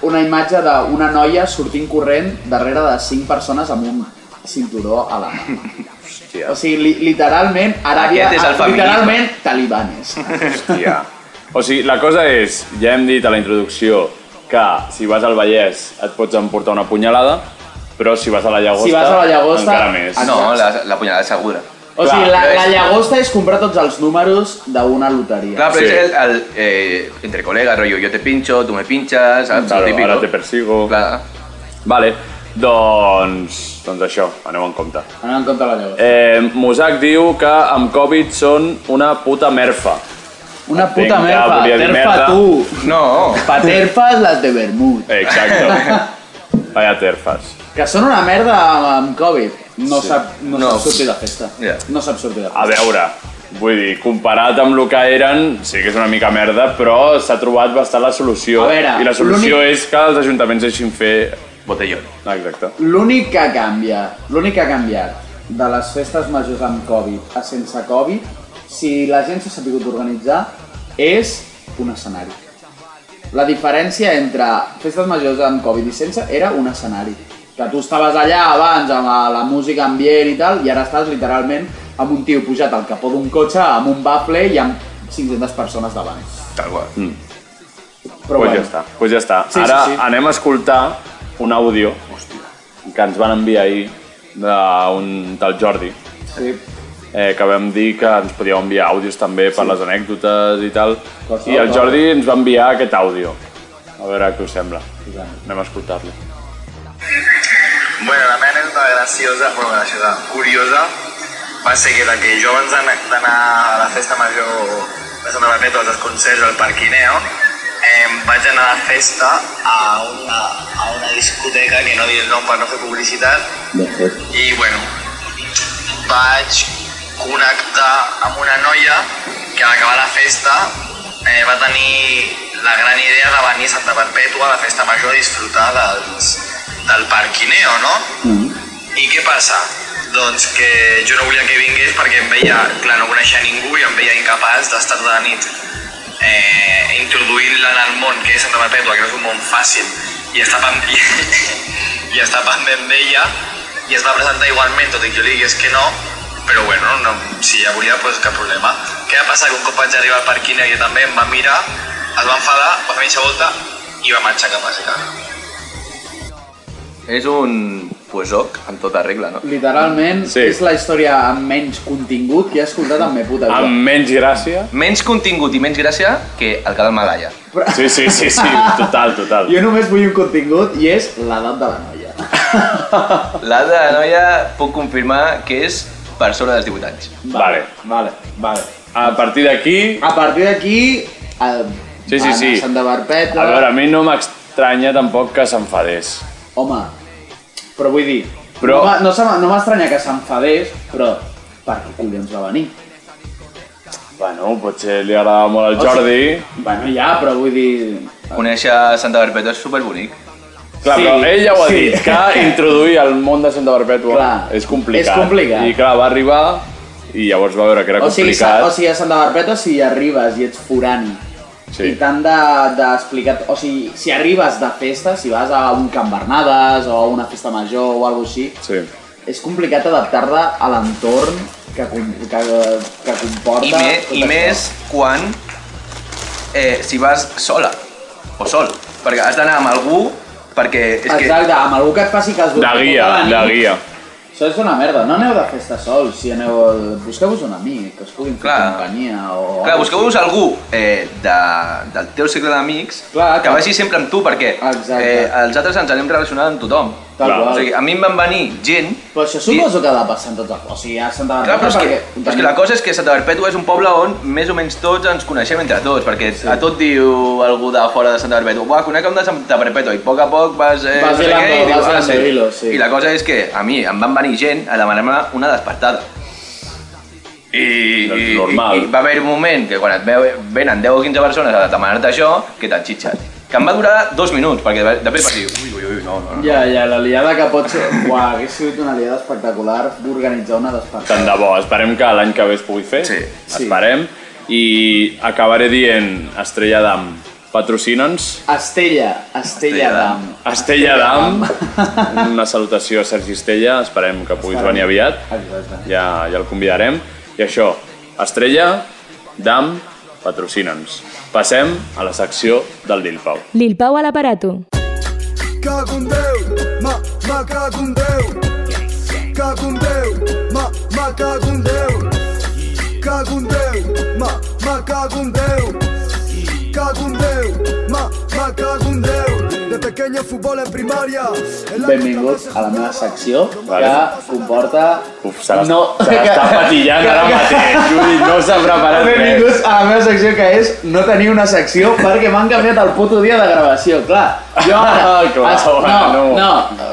Speaker 2: d'una imatge d'una noia sortint corrent darrere de cinc persones amb un cinturó a la mà.
Speaker 1: Hòstia.
Speaker 2: O sigui, li, literalment, Aràbia...
Speaker 7: Aquest és el feminisme.
Speaker 2: literalment, talibanes.
Speaker 1: Hòstia. O sigui, la cosa és, ja hem dit a la introducció que si vas al Vallès et pots emportar una punyalada, però si vas a la Llagosta,
Speaker 2: Si vas a la Llagosta,
Speaker 1: encara més.
Speaker 7: Ah, no, la, la punyalada és segura.
Speaker 2: O
Speaker 1: Clar,
Speaker 2: sigui, la,
Speaker 7: però és-
Speaker 2: la llagosta és comprar tots els números d'una loteria.
Speaker 7: Clar, però
Speaker 1: Sí.
Speaker 7: és el, el, eh, entre col·legues, rotllo, jo te pincho, tu me pinches, saps?
Speaker 1: Claro,
Speaker 7: el típico.
Speaker 1: ara te persigo.
Speaker 7: Clar.
Speaker 1: Vale, doncs, doncs això, aneu en compte.
Speaker 2: Anem en compte la llagosta.
Speaker 1: Eh, Musac diu que amb Covid són una puta merfa.
Speaker 2: Una
Speaker 1: Vinga,
Speaker 2: puta merda.
Speaker 1: volia dir merda.
Speaker 2: Terfa tu.
Speaker 7: No,
Speaker 2: Paterfas las de Bermud.
Speaker 1: Exacte. Vaya terfas.
Speaker 2: Que són una merda amb, amb Covid. No, sí. sap, no, no.
Speaker 7: No.
Speaker 2: sap sortir de festa.
Speaker 7: Ja.
Speaker 2: No sap sortir de festa.
Speaker 1: A veure, vull dir, comparat amb el que eren, sí que és una mica merda, però s'ha trobat bastant la solució.
Speaker 2: A veure,
Speaker 1: I la solució és que els ajuntaments deixin fer... Ah,
Speaker 7: Botellón.
Speaker 1: Exacte.
Speaker 2: L'únic que canvia, l'únic que ha canviat de les festes majors amb Covid a sense Covid, si la gent s'ha sabut organitzar, és un escenari. La diferència entre festes majors amb Covid i sense era un escenari. Que tu estaves allà abans amb la, la música ambient i tal, i ara estàs literalment amb un tio pujat al capó d'un cotxe, amb un bafle i amb 500 persones davant.
Speaker 7: Tal qual.
Speaker 2: Però
Speaker 1: pues ja està, pues ja està.
Speaker 2: Sí, sí,
Speaker 1: Ara
Speaker 2: sí.
Speaker 1: anem a escoltar un àudio que ens van enviar ahir d'un tal Jordi,
Speaker 2: Sí.
Speaker 1: eh, que vam dir que ens podíeu enviar àudios també per les anècdotes i tal,
Speaker 2: Qualsevol
Speaker 1: i el
Speaker 2: cosa.
Speaker 1: Jordi ens va enviar aquest àudio. A veure què us sembla.
Speaker 2: Posem-lo.
Speaker 1: Anem a escoltar-lo.
Speaker 8: Bueno, la meva anècdota graciosa, però graciosa, curiosa, va ser que, la que jo abans d'anar d'anar a la festa major de Santa Perpètua, als concerts del Parquineo, eh, vaig anar a la festa a una, a una discoteca, que no diré el nom per no fer publicitat,
Speaker 2: De fet.
Speaker 8: i bueno, vaig connectar amb una noia que a l'acabar la festa eh, va tenir la gran idea de venir a Santa Perpètua a la festa major a disfrutar dels, del parquineo, no? I què passa? Doncs que jo no volia que vingués perquè em veia, clar, no coneixia ningú i em veia incapaç d'estar tota la nit eh, introduint-la en el món que és Santa Perpètua, que no és un món fàcil, i estar, pen... i, i estar pendent d'ella, i es va presentar igualment, tot i que jo li digués que no, però bueno, no, si ja volia, doncs cap problema. Què va passar? Que un cop vaig arribar al parquing i també em va mirar, es va enfadar, va fer mitja volta i va marxar cap a la casa.
Speaker 7: És un puesoc en tota regla, no?
Speaker 2: Literalment,
Speaker 1: Sí.
Speaker 2: sí. és la història amb menys contingut que he escoltat amb me puta vida.
Speaker 1: Amb menys gràcia...
Speaker 7: Menys contingut i menys gràcia que el que del Malaya.
Speaker 2: Però...
Speaker 1: Sí, sí, sí, sí, total, total.
Speaker 2: Jo només vull un contingut i és l'edat de la noia.
Speaker 7: La de la noia puc confirmar que és per sobre dels 18 anys.
Speaker 1: Vale.
Speaker 2: Vale, vale.
Speaker 1: A partir d'aquí,
Speaker 2: A partir d'aquí, el...
Speaker 1: Sí, sí,
Speaker 2: van a
Speaker 1: sí.
Speaker 2: Santa Barpeta...
Speaker 1: a veure, a mi no m'estranya tampoc que s'enfadés.
Speaker 2: Home, però vull dir,
Speaker 1: Però-
Speaker 2: però... no, m'ha- no, se m'ha- no m'estranya que s'enfadés, però per què collons va venir?
Speaker 1: Bueno, potser li agradava molt al Jordi.
Speaker 2: Bueno, ja, però vull dir...
Speaker 7: Conèixer Santa Perpètua és superbonic.
Speaker 1: Clar,
Speaker 2: sí,
Speaker 1: però ell ja ho ha
Speaker 2: sí.
Speaker 1: dit, que introduir el món de Santa Perpètua
Speaker 2: Clar,
Speaker 1: és complicat.
Speaker 2: és complicat.
Speaker 1: I clar, va arribar i llavors va veure que era
Speaker 2: O sigui, sa-
Speaker 1: complicat.
Speaker 2: o sigui, a Santa Barpeta si hi arribes i ets forani
Speaker 1: Sí.
Speaker 2: sí. i t'han de- d'explicar... De, o sigui, si arribes de festa, si vas a un Can Bernades o a una festa major o alguna així,
Speaker 1: sí.
Speaker 2: és complicat adaptar-la a l'entorn que, com- que, que comporta...
Speaker 7: I, me,
Speaker 2: tot
Speaker 7: i
Speaker 2: això.
Speaker 7: més quan eh, si vas sola o sol, perquè has d'anar amb algú perquè és
Speaker 2: Exacte, amb algú que et faci cas
Speaker 1: De guia, de guia.
Speaker 2: Això és una merda, no aneu de festa sols, si aneu... Busqueu-vos un amic, que us puguin fer
Speaker 7: Clar.
Speaker 2: companyia o...
Speaker 7: que clar, busqueu-vos algú eh, de, del teu cercle d'amics
Speaker 2: Clar,
Speaker 7: que
Speaker 2: clar.
Speaker 7: vagi sempre amb tu perquè eh,
Speaker 2: Exacte.
Speaker 7: els altres ens anem relacionant amb tothom
Speaker 2: Tal
Speaker 1: Clar.
Speaker 2: qual.
Speaker 7: o sigui, a mi em van venir gent
Speaker 2: Però això suposo que ha de passar en tots els... O sigui, a Santa
Speaker 7: Clar, però
Speaker 2: Barbara
Speaker 7: és que,
Speaker 2: perquè...
Speaker 7: però és que la cosa és que Santa Perpètua és un poble on més o menys tots ens coneixem entre tots, perquè sí. a tot diu algú de fora de Santa Perpètua, buah, conec un de Santa Perpètua, i a poc a poc vas... Eh,
Speaker 2: Vas
Speaker 7: no sé
Speaker 2: hilando,
Speaker 7: què, i,
Speaker 2: vas
Speaker 7: "Ah,
Speaker 2: hilando hilos, sí.
Speaker 7: I la cosa és que a mi em van venir gent a demanar-me una despertada. I,
Speaker 1: Doncs
Speaker 7: i,
Speaker 1: normal.
Speaker 7: i, i va haver un moment que quan et veu, venen 10 o 15 persones a demanar-te això, que t'enxitxes. Que em va durar dos minuts, perquè de- després vas dir, ui, ui, ui, no, no, no.
Speaker 2: Ja, ja, la liada que pot ser... Uau, hagués sigut una liada espectacular d'organitzar una despertada.
Speaker 1: Tant de bo, esperem que l'any que ve es pugui fer.
Speaker 7: Sí.
Speaker 2: Sí.
Speaker 1: Esperem. I acabaré dient Estrella d'Am, patrocina'ns.
Speaker 2: Estella, Estella d'Am.
Speaker 1: Estella d'Am, una salutació a Sergi Estella, esperem que puguis venir aviat.
Speaker 2: Exacte.
Speaker 1: ja, ja el convidarem. I això, Estrella, Dam, patrocina'ns. Passem a la secció del Lil Pau.
Speaker 3: Lil Pau a l'aparato.
Speaker 9: Cago en Déu, ma, ma cago en Déu. Cago en Déu, ma, ma cago en Déu. Cago en Déu, ma, ma cago en Déu. Cago en Déu, ma, ma cago en Déu. De pequeño fútbol en primaria.
Speaker 2: Benvinguts a la meva secció
Speaker 1: Vale.
Speaker 2: que comporta...
Speaker 1: Uf, se l'està
Speaker 2: No.
Speaker 1: se l'està patillant ara mateix. Vull dir, no s'ha preparat res.
Speaker 2: Benvinguts a la meva secció que és no tenir una secció perquè m'han canviat el puto dia de gravació, clar. Jo ara...
Speaker 1: Ah, clar,
Speaker 2: es-
Speaker 1: home,
Speaker 2: no,
Speaker 1: no.
Speaker 2: no.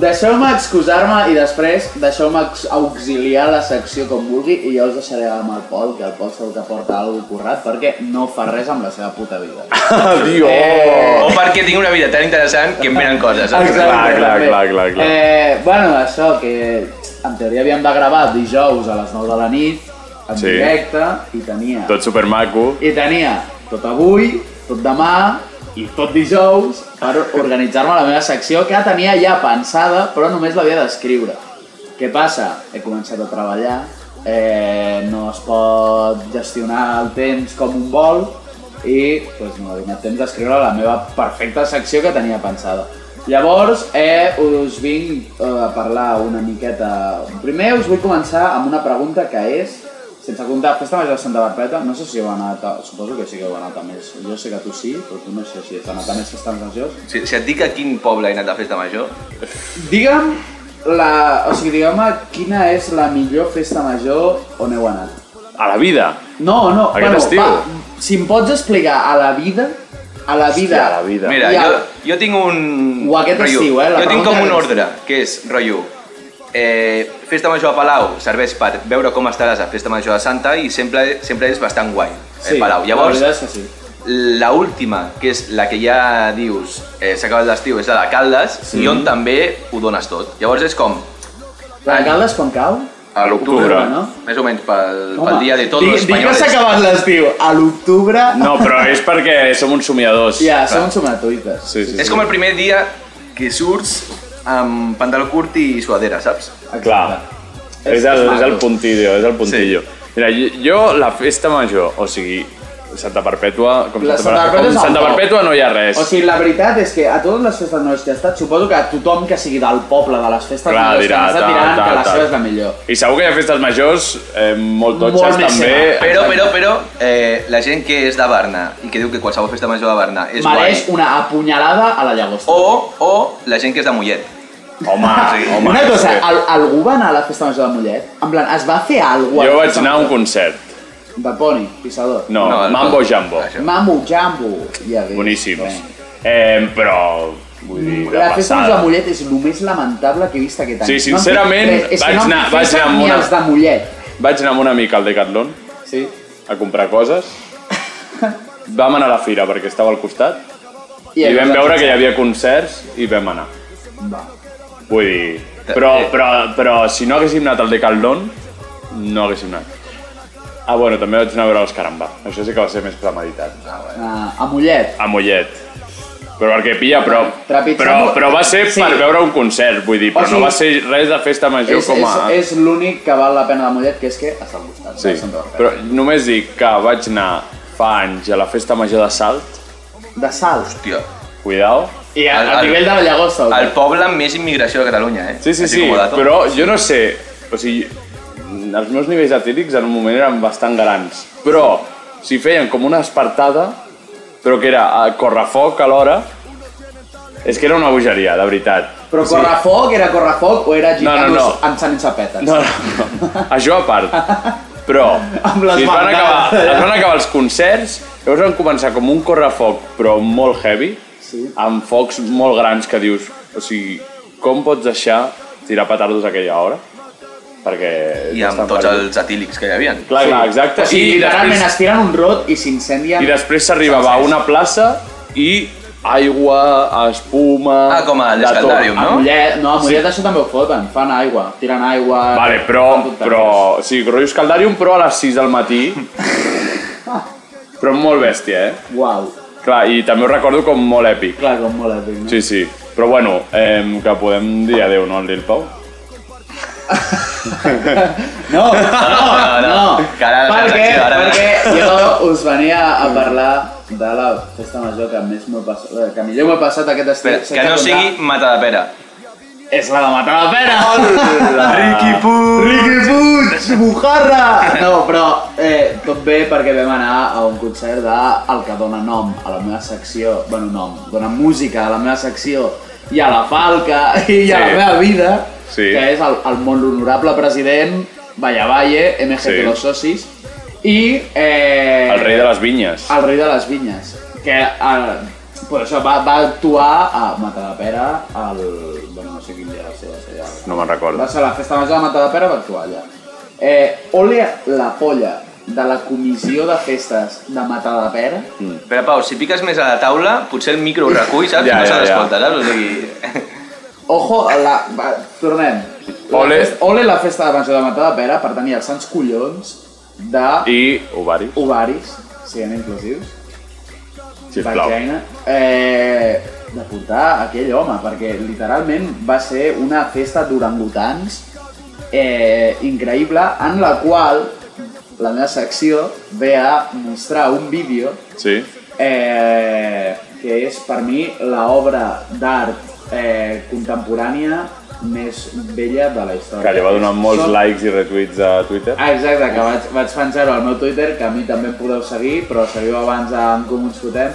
Speaker 2: Deixeu-me excusar-me i després deixeu-me ex- auxiliar la secció com vulgui i jo us deixaré amb el Pol, que el Pol segur que porta alguna currat perquè no fa res amb la seva puta vida.
Speaker 1: Adiós!
Speaker 2: Eh.
Speaker 7: O perquè tinc una vida tan interessant que em venen coses. saps?
Speaker 1: Clar, clar,
Speaker 2: també.
Speaker 1: clar, clar, clar.
Speaker 2: Eh, bueno, això, que en teoria havíem de gravar dijous a les 9 de la nit, en
Speaker 1: Sí.
Speaker 2: directe, i tenia...
Speaker 1: Tot supermaco.
Speaker 2: I tenia tot avui, tot demà i tot dijous per organitzar-me la meva secció que tenia ja pensada però només l'havia d'escriure. Què passa? He començat a treballar, eh, no es pot gestionar el temps com un vol i doncs, no he donat temps d'escriure la meva perfecta secció que tenia pensada. Llavors, eh, us vinc eh, a parlar una miqueta... Primer us vull començar amb una pregunta que és sense comptar, Festa Major de Santa Barpeta, no sé si heu anat, a, suposo que sí que heu anat a més. Jo sé que tu sí, però tu no sé si has anat a més festes majors.
Speaker 7: Si, si et dic a quin poble he anat a festa major,
Speaker 2: Digue'm, la, o sigui, digue'm quina és la millor festa major on heu anat.
Speaker 1: A la vida.
Speaker 2: No, no,
Speaker 1: Aquest estiu?
Speaker 2: va, si em pots explicar a la vida, a la vida...
Speaker 1: a la vida.
Speaker 7: mira,
Speaker 2: I a-
Speaker 7: jo, jo tinc un...
Speaker 2: O aquest
Speaker 7: rotllo.
Speaker 2: estiu, eh, la
Speaker 7: Jo tinc
Speaker 2: pregunta
Speaker 7: com un
Speaker 2: és-
Speaker 7: ordre, que és, rotllo, eh, festa major a Palau serveix per veure com estaràs a festa major a Santa i sempre, sempre és bastant guai, eh, Palau. Llavors,
Speaker 2: La veritat és que sí.
Speaker 7: La última, que és la que ja dius eh, s'ha acabat l'estiu, és la de Caldes, sí. i on també ho dones tot. Llavors és com,
Speaker 2: La de Caldes quan cau?
Speaker 7: a l'octubre,
Speaker 1: Octubre,
Speaker 7: no?
Speaker 2: no?
Speaker 7: més o menys pel, pel dia de tots
Speaker 2: digui-
Speaker 7: los
Speaker 2: digui que
Speaker 7: españoles.
Speaker 2: s'ha acabat l'estiu. A l'octubre...
Speaker 1: No, però és perquè som uns somiadors.
Speaker 2: Ja, som somatuites.
Speaker 1: Sí, sí,
Speaker 7: És
Speaker 1: sí.
Speaker 7: com el primer dia que surts amb pantaló curt i suadera, saps?
Speaker 1: Clar. És, el, és el puntillo, és el puntillo. Sí. Mira, jo, jo, la festa major, o sigui, Santa Perpètua, com
Speaker 2: La
Speaker 1: Santa, Perpètua, com
Speaker 2: Santa Perpètua és el
Speaker 1: Santa
Speaker 2: top.
Speaker 1: Perpètua no hi ha res.
Speaker 2: O sigui, la veritat és que a totes les festes noves que he estat, suposo que a tothom que sigui del poble, de les festes
Speaker 1: Clar,
Speaker 2: noves
Speaker 1: dirà,
Speaker 2: que han estat,
Speaker 1: tal,
Speaker 2: diran
Speaker 1: tal,
Speaker 2: que la
Speaker 1: tal.
Speaker 2: seva és la millor.
Speaker 1: I segur que hi ha festes majors eh, molt totxes
Speaker 2: Molt més
Speaker 1: també.
Speaker 2: seva.
Speaker 7: Però, però, però, eh, la gent que és de Barna i que diu que qualsevol festa major de Barna és
Speaker 2: Mereix
Speaker 7: guai,
Speaker 2: una apunyalada a la
Speaker 1: Oh,
Speaker 2: llagosta.
Speaker 7: o, o la gent que és de Mollet.
Speaker 1: Home,
Speaker 7: Sí.
Speaker 1: home.
Speaker 2: Una cosa,
Speaker 1: és que
Speaker 2: al, algú va anar a la festa major de Mollet? En plan, es va fer alguna cosa?
Speaker 1: Jo vaig anar a un concert.
Speaker 2: De Pony, Pissador.
Speaker 1: No,
Speaker 7: No,
Speaker 1: no
Speaker 7: el-
Speaker 1: Mambo Jambo.
Speaker 7: Això.
Speaker 2: Mamu, Jambo. Ja ves,
Speaker 1: Boníssims.
Speaker 2: bé.
Speaker 1: Eh, però, vull dir, de
Speaker 2: La festa major
Speaker 1: passada.
Speaker 2: de Mollet és el més lamentable que he vist aquest any.
Speaker 1: Sí,
Speaker 2: No han fet
Speaker 1: sincerament,
Speaker 2: res. és
Speaker 1: vaig
Speaker 2: que no han
Speaker 1: anar-
Speaker 2: fet
Speaker 1: vaig
Speaker 2: festa
Speaker 1: anar amb
Speaker 2: ni
Speaker 1: una-
Speaker 2: els de Mollet.
Speaker 1: Vaig anar amb un amic al Decathlon
Speaker 2: Sí.
Speaker 1: a comprar coses. Vam anar a la fira perquè estava al costat i,
Speaker 2: llavors
Speaker 1: vam
Speaker 2: vaig
Speaker 1: veure que
Speaker 2: pensar,
Speaker 1: hi havia concerts i vam anar.
Speaker 2: Va.
Speaker 1: Vull dir, però,
Speaker 2: eh.
Speaker 1: però, però si no haguéssim anat al Decathlon, no haguéssim anat. Ah, bueno, també vaig anar a veure els Caramba. Això sí que va ser més premeditat.
Speaker 2: Ah, a Mollet.
Speaker 1: A Mollet. Però perquè pilla a prop.
Speaker 2: Trepitjant-
Speaker 1: Però, però va ser sí.
Speaker 2: Sí.
Speaker 1: per veure un concert, vull dir, però
Speaker 2: O sigui,
Speaker 1: no va ser res de festa major
Speaker 2: és,
Speaker 1: com a...
Speaker 2: és, és l'únic que val la pena de Mollet, que és que està al costat.
Speaker 1: Sí,
Speaker 2: de Santa Bàrbara.
Speaker 1: però només dic que vaig anar fa anys a la festa major de Salt,
Speaker 2: De Salt.
Speaker 7: Hòstia,
Speaker 1: cuidao.
Speaker 2: I a,
Speaker 7: El-
Speaker 2: a
Speaker 7: el-
Speaker 2: nivell de la llagosta.
Speaker 7: el poble amb més immigració de Catalunya, eh?
Speaker 1: Sí, sí,
Speaker 7: Així
Speaker 1: sí,
Speaker 7: com a dato.
Speaker 1: però jo no sé, o sigui, els meus nivells atírics en un moment eren bastant grans, però si feien com una espartada, però que era a correfoc alhora, és que era una bogeria, de veritat.
Speaker 2: Però
Speaker 1: O sigui,
Speaker 2: Correfoc era Correfoc o era gitanos
Speaker 1: No, no, no.
Speaker 2: amb sant i sapetes?
Speaker 1: No, no, no. Això a part. Però,
Speaker 2: Amb les
Speaker 1: si es van,
Speaker 2: bandades,
Speaker 1: acabar,
Speaker 2: eh?
Speaker 1: es van acabar els concerts, llavors van començar com un correfoc, però molt heavy,
Speaker 2: Sí.
Speaker 1: amb focs molt grans que dius, o sigui, com pots deixar tirar petardos a aquella hora? Perquè...
Speaker 7: I
Speaker 1: ja
Speaker 7: amb
Speaker 1: estan
Speaker 7: tots
Speaker 1: perduts.
Speaker 7: els atílics que hi havia.
Speaker 1: Clar, clar, exacte.
Speaker 2: O sigui,
Speaker 1: I
Speaker 2: literalment
Speaker 1: després-
Speaker 2: es tiren un rot i s'incendien.
Speaker 1: I després s'arribava a una plaça i aigua, espuma...
Speaker 7: Ah, com a
Speaker 1: de tot.
Speaker 7: l'escaldàrium,
Speaker 2: A
Speaker 7: no?
Speaker 2: Mollet, no, a Mollet això també ho foten, fan aigua, tiren aigua...
Speaker 1: Vale,
Speaker 2: fan
Speaker 1: però,
Speaker 2: tonteries.
Speaker 1: però, sí, rotllo escaldàrium, però a les 6 del matí. però molt bèstia, eh?
Speaker 2: Uau,
Speaker 1: Clar, i també ho recordo com molt èpic.
Speaker 2: clar, com molt èpic, no?
Speaker 1: Sí, sí. Però bueno, eh, que podem dir adeu, no, al Lil Pau?
Speaker 2: No, no, no,
Speaker 7: que ara la
Speaker 2: perquè,
Speaker 7: transacció, ara-
Speaker 2: perquè jo us venia a parlar de la festa major que, més m'ho he passat, que millor m'ha passat aquest estiu.
Speaker 7: Espera,
Speaker 2: sense
Speaker 7: que no
Speaker 2: comptar.
Speaker 7: sigui mata de pera.
Speaker 2: És la de matar la pera!
Speaker 1: Riqui Puig!
Speaker 2: Riqui Puig, bujarra! No, però eh, tot bé perquè vam anar a un concert de el que dona nom a la meva secció, bueno, nom, dona música a la meva secció i a la falca i a la
Speaker 1: Sí.
Speaker 2: meva vida,
Speaker 1: Sí.
Speaker 2: que és el, el molt honorable president Valle Valle, MGT
Speaker 1: Sí.
Speaker 2: Los Socis, i... Eh,
Speaker 1: El rei de les vinyes.
Speaker 2: el rei de les vinyes, que eh, Però això va, va actuar a Matadepera al... Bueno, no sé quin dia va ser, va ser allà.
Speaker 1: No me'n recordo.
Speaker 2: Va ser a la festa major de Matadepera, va actuar allà. Eh, ole la polla de la comissió de festes de Matadepera.
Speaker 1: Mm.
Speaker 7: Però Pau, si piques més a la taula, potser el micro ho recull, saps?
Speaker 1: Ja, ja,
Speaker 7: no se
Speaker 1: ja.
Speaker 7: l'escolta, saps? O sigui...
Speaker 2: Ojo, a la... Va, tornem.
Speaker 1: Ole.
Speaker 2: La festa, ole la festa de major de Matadepera per tenir els sants collons de
Speaker 1: I ovari,
Speaker 2: ovaris, siguem inclusius.
Speaker 1: sisplau.
Speaker 2: Vagina, eh, de portar aquell home, perquè literalment va ser una festa d'orangutans eh, increïble, en la qual la meva secció ve a mostrar un vídeo
Speaker 1: Sí.
Speaker 2: eh, que és per mi l'obra d'art eh, contemporània més vella de la història.
Speaker 1: Que li va donar molts
Speaker 2: Són-
Speaker 1: likes i retweets a Twitter.
Speaker 2: Ah, exacte, que vaig, vaig penjar-ho al meu Twitter, que a mi també em podeu seguir, però seguiu abans a En Comú ens fotem.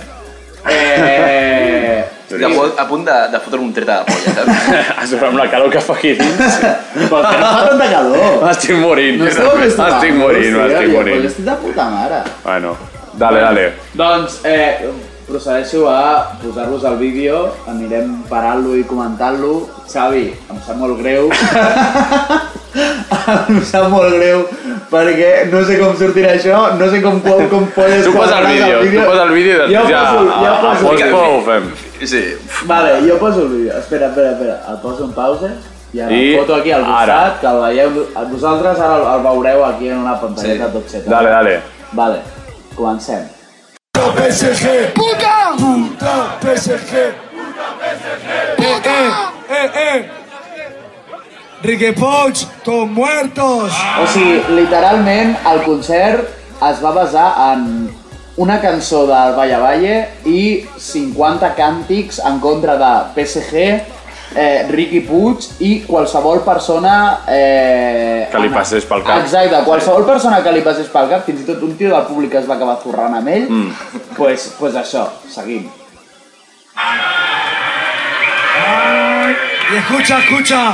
Speaker 2: Eh,
Speaker 7: De, po- a punt de, de fotre'm un tret a la polla, saps?
Speaker 1: A sobre amb la calor que fa aquí dins.
Speaker 2: però que no fa Ah, tanta calor.
Speaker 1: M'estic morint.
Speaker 2: No esteu acostumat.
Speaker 1: M'estic morint, m'estic morint.
Speaker 2: Jo estic de puta mare.
Speaker 1: Bueno, dale, dale.
Speaker 2: Doncs, eh, procedeixo a posar-vos el vídeo, anirem parant-lo i comentant-lo. Xavi, em sap molt greu. em sap molt greu perquè no sé com sortirà això, no sé com, com, com podes
Speaker 1: Tu posa el
Speaker 2: quadrar-nos
Speaker 1: vídeo, tu posa el vídeo i
Speaker 2: Jo
Speaker 1: després ja,
Speaker 2: poso,
Speaker 1: a,
Speaker 2: jo
Speaker 1: a
Speaker 2: poso.
Speaker 1: Postpo ho fem.
Speaker 7: Sí.
Speaker 2: Vale, jo poso el vídeo. Espera, espera, espera. El poso en pausa i ara
Speaker 1: I
Speaker 2: el foto aquí al costat,
Speaker 1: ara.
Speaker 2: que el veieu... Vosaltres ara el, el veureu aquí en una pantalleta
Speaker 7: Sí.
Speaker 2: tot xeta.
Speaker 1: Dale, dale.
Speaker 2: Vale, comencem.
Speaker 9: PSG,
Speaker 5: Puta!
Speaker 9: puta PSG,
Speaker 5: Eh, eh!
Speaker 9: eh, eh. Ricky Pouch, todos muertos.
Speaker 2: O sigui, literalment, el concert es va basar en una cançó del Valle Valle i 50 càntics en contra de PSG, eh, Ricky Puig i qualsevol persona... Eh,
Speaker 1: Que li
Speaker 2: en-
Speaker 1: passés pel cap.
Speaker 2: Exacte, qualsevol persona que li passés pel cap, fins i tot un tio del públic que es va acabar forrant amb ell, mm. pues, pues això, seguim.
Speaker 9: Y escucha, escucha,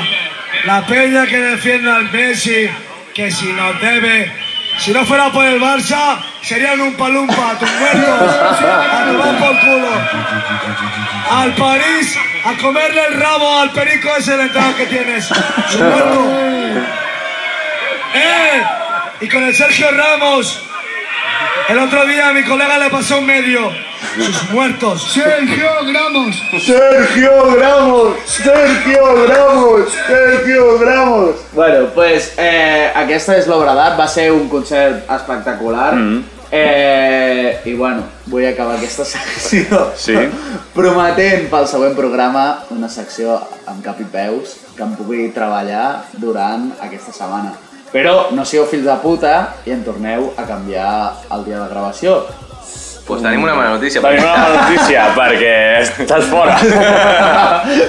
Speaker 9: la peña que defiende al Messi, que si nos debe, si no fuera por el Barça, serían un palumpa, tus muertos, a tomar por culo. Al París, a comerle el rabo al perico ese letrado que tienes, su muerto. ¡Eh! Y con el Sergio Ramos, el otro día a mi colega le pasó un medio, sus muertos.
Speaker 6: Sergio Gramos.
Speaker 2: Sergio Gramos! Sergio Gramos! Sergio Gramos! Bueno, pues, eh, aquesta és l'obra d'art, va ser un concert espectacular. Mm -hmm. eh, I bueno, vull acabar aquesta secció
Speaker 1: Sí.
Speaker 2: prometent pel següent programa una secció amb cap i peus que em pugui treballar durant aquesta setmana. Però no sigueu fills de puta i en torneu a canviar el dia de gravació.
Speaker 7: Doncs pues tenim una mala notícia.
Speaker 1: Tenim una mala notícia, perquè estàs fora.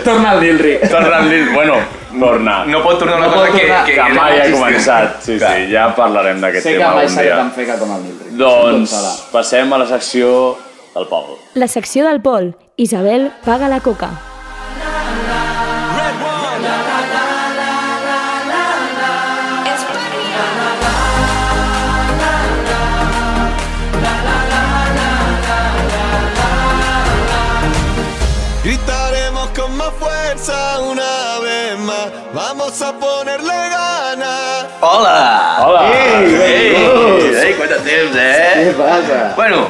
Speaker 2: Torna al Dilri.
Speaker 1: Torna amb l'il... Bueno, torna.
Speaker 7: No pot tornar una
Speaker 2: No
Speaker 7: cosa
Speaker 2: pot
Speaker 7: que,
Speaker 2: tornar,
Speaker 7: que,
Speaker 1: Que
Speaker 7: que
Speaker 1: mai ha
Speaker 7: existia.
Speaker 1: començat. Sí, sí, ja parlarem d'aquest
Speaker 2: Sé que
Speaker 1: tema
Speaker 2: mai
Speaker 1: algun
Speaker 2: seré
Speaker 1: dia.
Speaker 2: tan feca com el Nilri.
Speaker 1: Doncs passem a la secció del poble.
Speaker 3: La secció del Pol. Isabel paga la coca.
Speaker 9: Gritaremos con más fuerza una vez más. Vamos a ponerle ganas.
Speaker 7: Hola!
Speaker 1: Hola!
Speaker 2: Ei,
Speaker 7: Ei,
Speaker 2: ei,
Speaker 7: ei, quanta temps,
Speaker 2: Què
Speaker 7: eh?
Speaker 2: passa?
Speaker 7: Bueno,